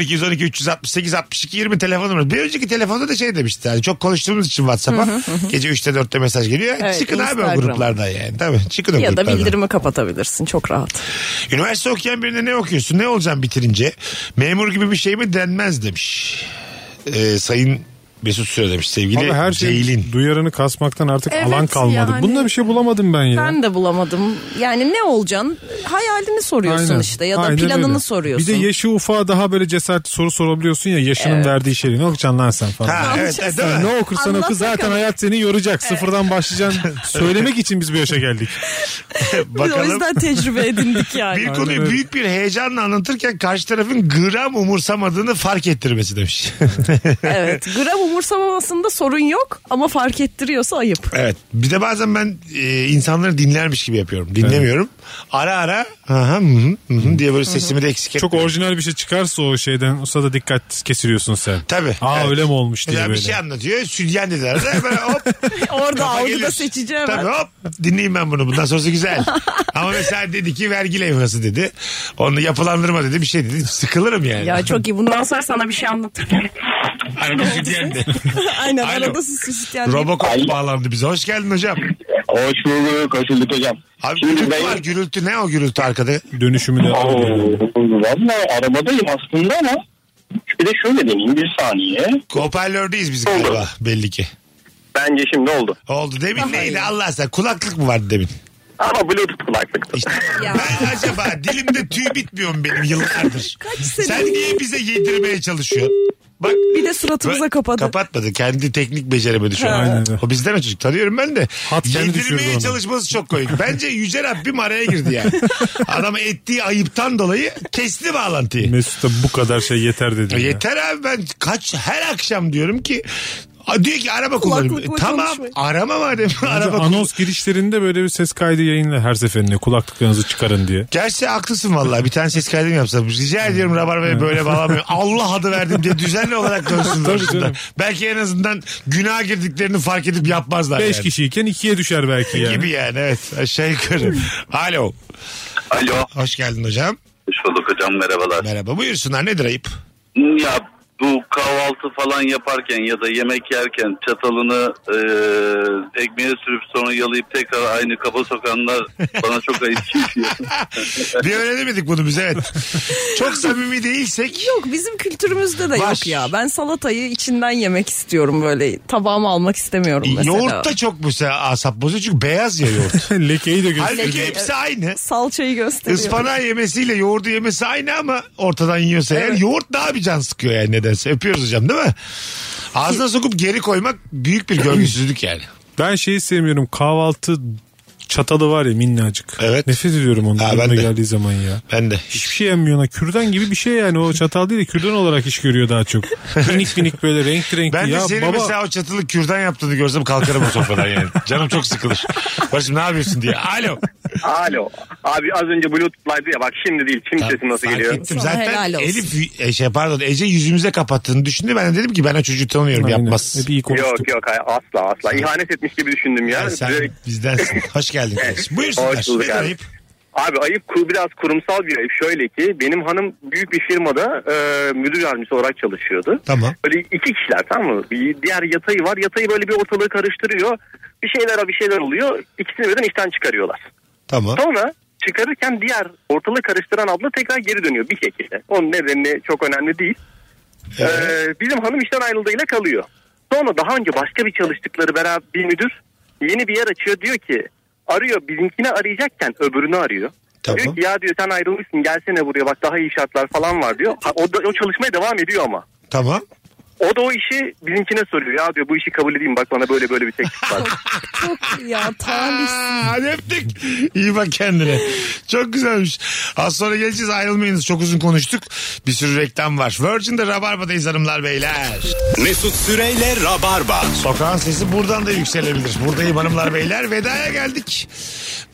0212 368 62 20 telefon numarası. Bir önceki telefonda da şey demişti. Yani çok konuştuğumuz için WhatsApp'a. Gece 3'te 4'te mesaj geliyor. Evet, Çıkın abi o Instagram. gruplardan yani. Tabii çıkın o ya da gruplardan. bildirimi kapatabilirsin çok rahat. Üniversite okuyan birine ne okuyorsun? Ne olacaksın bitirince? Memur gibi bir şey mi denmez demiş. Ee, sayın Mesut Süre demiş sevgili Abi her şey Ceylin. duyarını kasmaktan artık Evet alan kalmadı. yani. Bunda bir şey bulamadım ben ya. Ben de bulamadım. Yani ne olacaksın? Hayalini soruyorsun Aynen. işte ya da Aynen planını öyle. soruyorsun. Bir de yaşı ufağa daha böyle cesaretli soru sorabiliyorsun ya yaşının verdiği şeyi. Ne okuyacaksın lan sen falan. Ha, evet, evet, değil mi? Yani ne okursan Anlat oku zaten bakalım. hayat seni yoracak. Sıfırdan başlayacaksın. Söylemek için biz bu yaşa geldik. Biz o Bakalım. yüzden tecrübe edindik yani. Bir konuyu öyle. büyük bir heyecanla anlatırken karşı tarafın gram umursamadığını fark ettirmesi demiş. evet. Gram umursamamasında sorun yok ama fark ettiriyorsa ayıp. evet. Bir de bazen ben e, insanları dinlermiş gibi yapıyorum. Dinlemiyorum. Ara ara aha, hı hı, hı hı diye böyle sesimi de eksik Çok etmiyorum. orijinal bir şey çıkarsa o şeyden olsa da dikkat kesiliyorsun sen. Tabii. Aa Evet. öyle mi olmuş diye Mesela böyle. bir şey anlatıyor. Sütyen dediler. Hemen hop Orada Kafa algıda gelir. seçeceğim. Tabii hop dinleyeyim ben bunu. Bundan sonrası güzel. Ama mesela dedi ki vergi levhası dedi. Onu yapılandırma dedi. Bir şey dedi. Sıkılırım yani. Ya çok iyi. Bundan sonra sana bir şey anlatırım. Arada sütyen de. Aynen Alo. arada sus sus yani. Robocop bağlandı bize. Hoş geldin hocam. Hoş bulduk, hoş bulduk hocam. Abi Şimdi gürültü ben- var gürültü. Ne o gürültü arkada? Dönüşümü de Oo, Valla arabadayım aslında ama bir de şöyle diyeyim bir saniye. Hoparlördeyiz biz galiba belli ki. Bence şimdi oldu. Oldu. Demin neydi Allah sen kulaklık mı vardı demin? Ama Bluetooth kulaklıktı. İşte. Ya. Ben acaba dilimde tüy bitmiyor mu benim yıllardır? Kaç sene? Sen niye bize yedirmeye çalışıyorsun? Bak, bir de suratımıza kapadı. Kapatmadı. Kendi teknik beceremedi şu an. Ha. Aynen O bizden o çocuk. Tanıyorum ben de. Hat kendi düşürdü Yedirmeye onu. çalışması çok komik. Bence Yüce Rabbim araya girdi yani. Adama ettiği ayıptan dolayı kesti bağlantıyı. Mesut da bu kadar şey yeter dedi. Ya ya. E, Yeter abi ben kaç her akşam diyorum ki A, diyor ki araba kullanıyorum. Kulaklıkla Tamam konuşmayın. arama madem Bence araba kullan- anons girişlerinde böyle bir ses kaydı yayınla her seferinde kulaklıklarınızı çıkarın diye. Gerçi haklısın vallahi bir tane ses kaydım yapsam. Rica Hmm. ediyorum Rabarba'ya böyle bağlamıyor. Allah adı verdim diye düzenli olarak dönsünler. Tabii canım. Belki en azından günaha girdiklerini fark edip yapmazlar 5 yani. kişiyken 2'ye düşer belki yani. Gibi yani evet aşağı yukarı. Alo. Alo. Hoş geldin hocam. Hoş bulduk hocam merhabalar. Merhaba buyursunlar nedir ayıp? Ya bu kahvaltı falan yaparken ya da yemek yerken çatalını eee ekmeğe sürüp sonra yalayıp tekrar aynı kaba sokanlar bana çok ayıp geliyor. Bir öğrenemedik bunu biz evet. Çok samimi değilsek Yok bizim kültürümüzde de Var. yok ya. Ben salatayı içinden yemek istiyorum böyle. Tabağıma almak istemiyorum mesela. yoğurt da çok bu se- asap bozuyor çünkü beyaz ya yoğurt. Lekeyi de Halbuki gösteriyor. hepsi aynı. Salçayı gösteriyor. Ispanağı yemesiyle yoğurdu yemesi aynı ama ortadan yiyorsa eğer yoğurt daha bir can sıkıyor yani nedense. Öpüyoruz hocam değil mi? Ağzına sokup geri koymak büyük bir görgüsüzlük yani. Ben şeyi sevmiyorum kahvaltı çatalı var ya minnacık. Evet. Nefret ediyorum Ha, ondan ben önüne de. geldiği zaman ya. Ben de. Hiçbir şey yemmiyor ona. Kürdan gibi bir şey yani. O çatal değil de kürdan olarak iş görüyor daha çok. Minik minik böyle renkli renkli. Ben ya de senin baba mesela o çatılı kürdan yaptığını görsem kalkarım o sofradan yani. Canım çok sıkılır. Barış'ım ne yapıyorsun diye. Alo. Alo. Abi az önce Bluetooth'laydı ya bak şimdi değil. Şimdi sesim nasıl Fark geliyor? ettim. Sana Zaten helal olsun. Elif, e, şey pardon Ece yüzümüze kapattığını düşündü. Ben de dedim ki ben o çocuğu tanıyorum Aynen. yapmaz. Hep iyi konuştuk. Yok yok hayır, asla asla. İhanet etmiş gibi düşündüm ya. Yani sen Direkt- bizdensin. Hoş geldin. kardeşim. Buyursunlar. Hoş bulduk Nedir abi. ayıp? Abi ayıp ku- biraz kurumsal bir ayıp. Şöyle ki benim hanım büyük bir firmada e, müdür yardımcısı olarak çalışıyordu. Tamam. Böyle iki kişiler tamam mı? Bir diğer yatayı var. Yatayı böyle bir ortalığı karıştırıyor. Bir şeyler bir şeyler oluyor. İkisini birden işten çıkarıyorlar. Tamam. Sonra çıkarırken diğer ortalığı karıştıran abla tekrar geri dönüyor bir şekilde. Onun nedeni çok önemli değil. Ee, bizim hanım işten ayrıldığıyla kalıyor. Sonra daha önce başka bir çalıştıkları beraber bir müdür yeni bir yer açıyor diyor ki arıyor bizimkini arayacakken öbürünü arıyor. Tamam. Diyor ki ya diyor sen ayrılmışsın gelsene buraya bak daha iyi şartlar falan var diyor. Ha, O, da, o çalışmaya devam ediyor ama. Tamam. O da o işi bizimkine soruyor. Ya diyor bu işi kabul edeyim bak bana böyle böyle bir teklif var. Çok ya talihsiz. Aa, Hadi öptük. İyi bak kendine. Çok güzelmiş. Az sonra geleceğiz ayrılmayınız. Çok uzun konuştuk. Bir sürü reklam var. Virgin'de Rabarba'dayız hanımlar beyler. Mesut Süreyle Rabarba. Sokağın sesi buradan da yükselebilir. Buradayım hanımlar beyler. Vedaya geldik.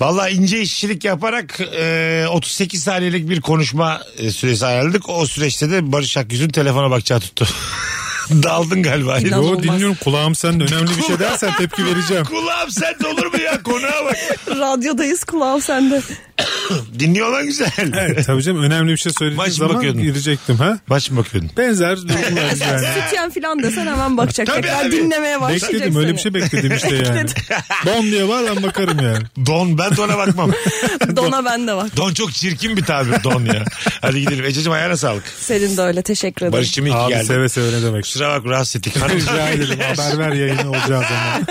Valla ince işçilik yaparak e, 38 saniyelik bir konuşma e, süresi ayarladık. O süreçte de Barış Akgüz'ün telefona bakacağı tuttu. Daldın galiba. İnan- Yo Olmaz. dinliyorum kulağım sen de önemli bir şey dersen tepki vereceğim. Kulağım sen de olur mu ya? Konuğa bak. Radyodayız kulağım sende. Dinliyor lan güzel. Evet, tabii canım önemli bir şey söylediğin Maç mı zaman bakıyordun? girecektim ha. Baş mı bakıyordun? Benzer durumlar yani. Sütyen falan desen hemen bakacak. Tabii Tekrar abi. dinlemeye başlayacak Bekledim öyle bir şey seni. bekledim işte yani. Don diye var ben bakarım yani. Don ben dona bakmam. Dona ben de bak. don çok çirkin bir tabir don ya. Hadi gidelim. Ececiğim ayağına sağlık. Senin de öyle teşekkür ederim. Barış'cım iyi ki Abi geldin. seve seve ne demek. Kusura bakma rahatsız ettik. Rica ederim haber ver yayını olacağı zaman.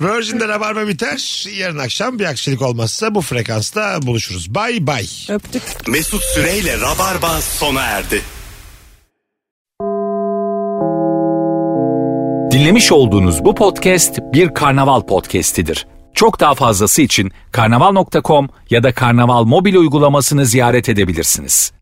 Virgin'de Rabarba biter. Yarın akşam bir aksilik olmazsa bu frekansta buluşuruz. Bay bay. Öptük. Mesut Süreyle Rabarba sona erdi. Dinlemiş olduğunuz bu podcast bir karnaval podcastidir. Çok daha fazlası için karnaval.com ya da karnaval mobil uygulamasını ziyaret edebilirsiniz.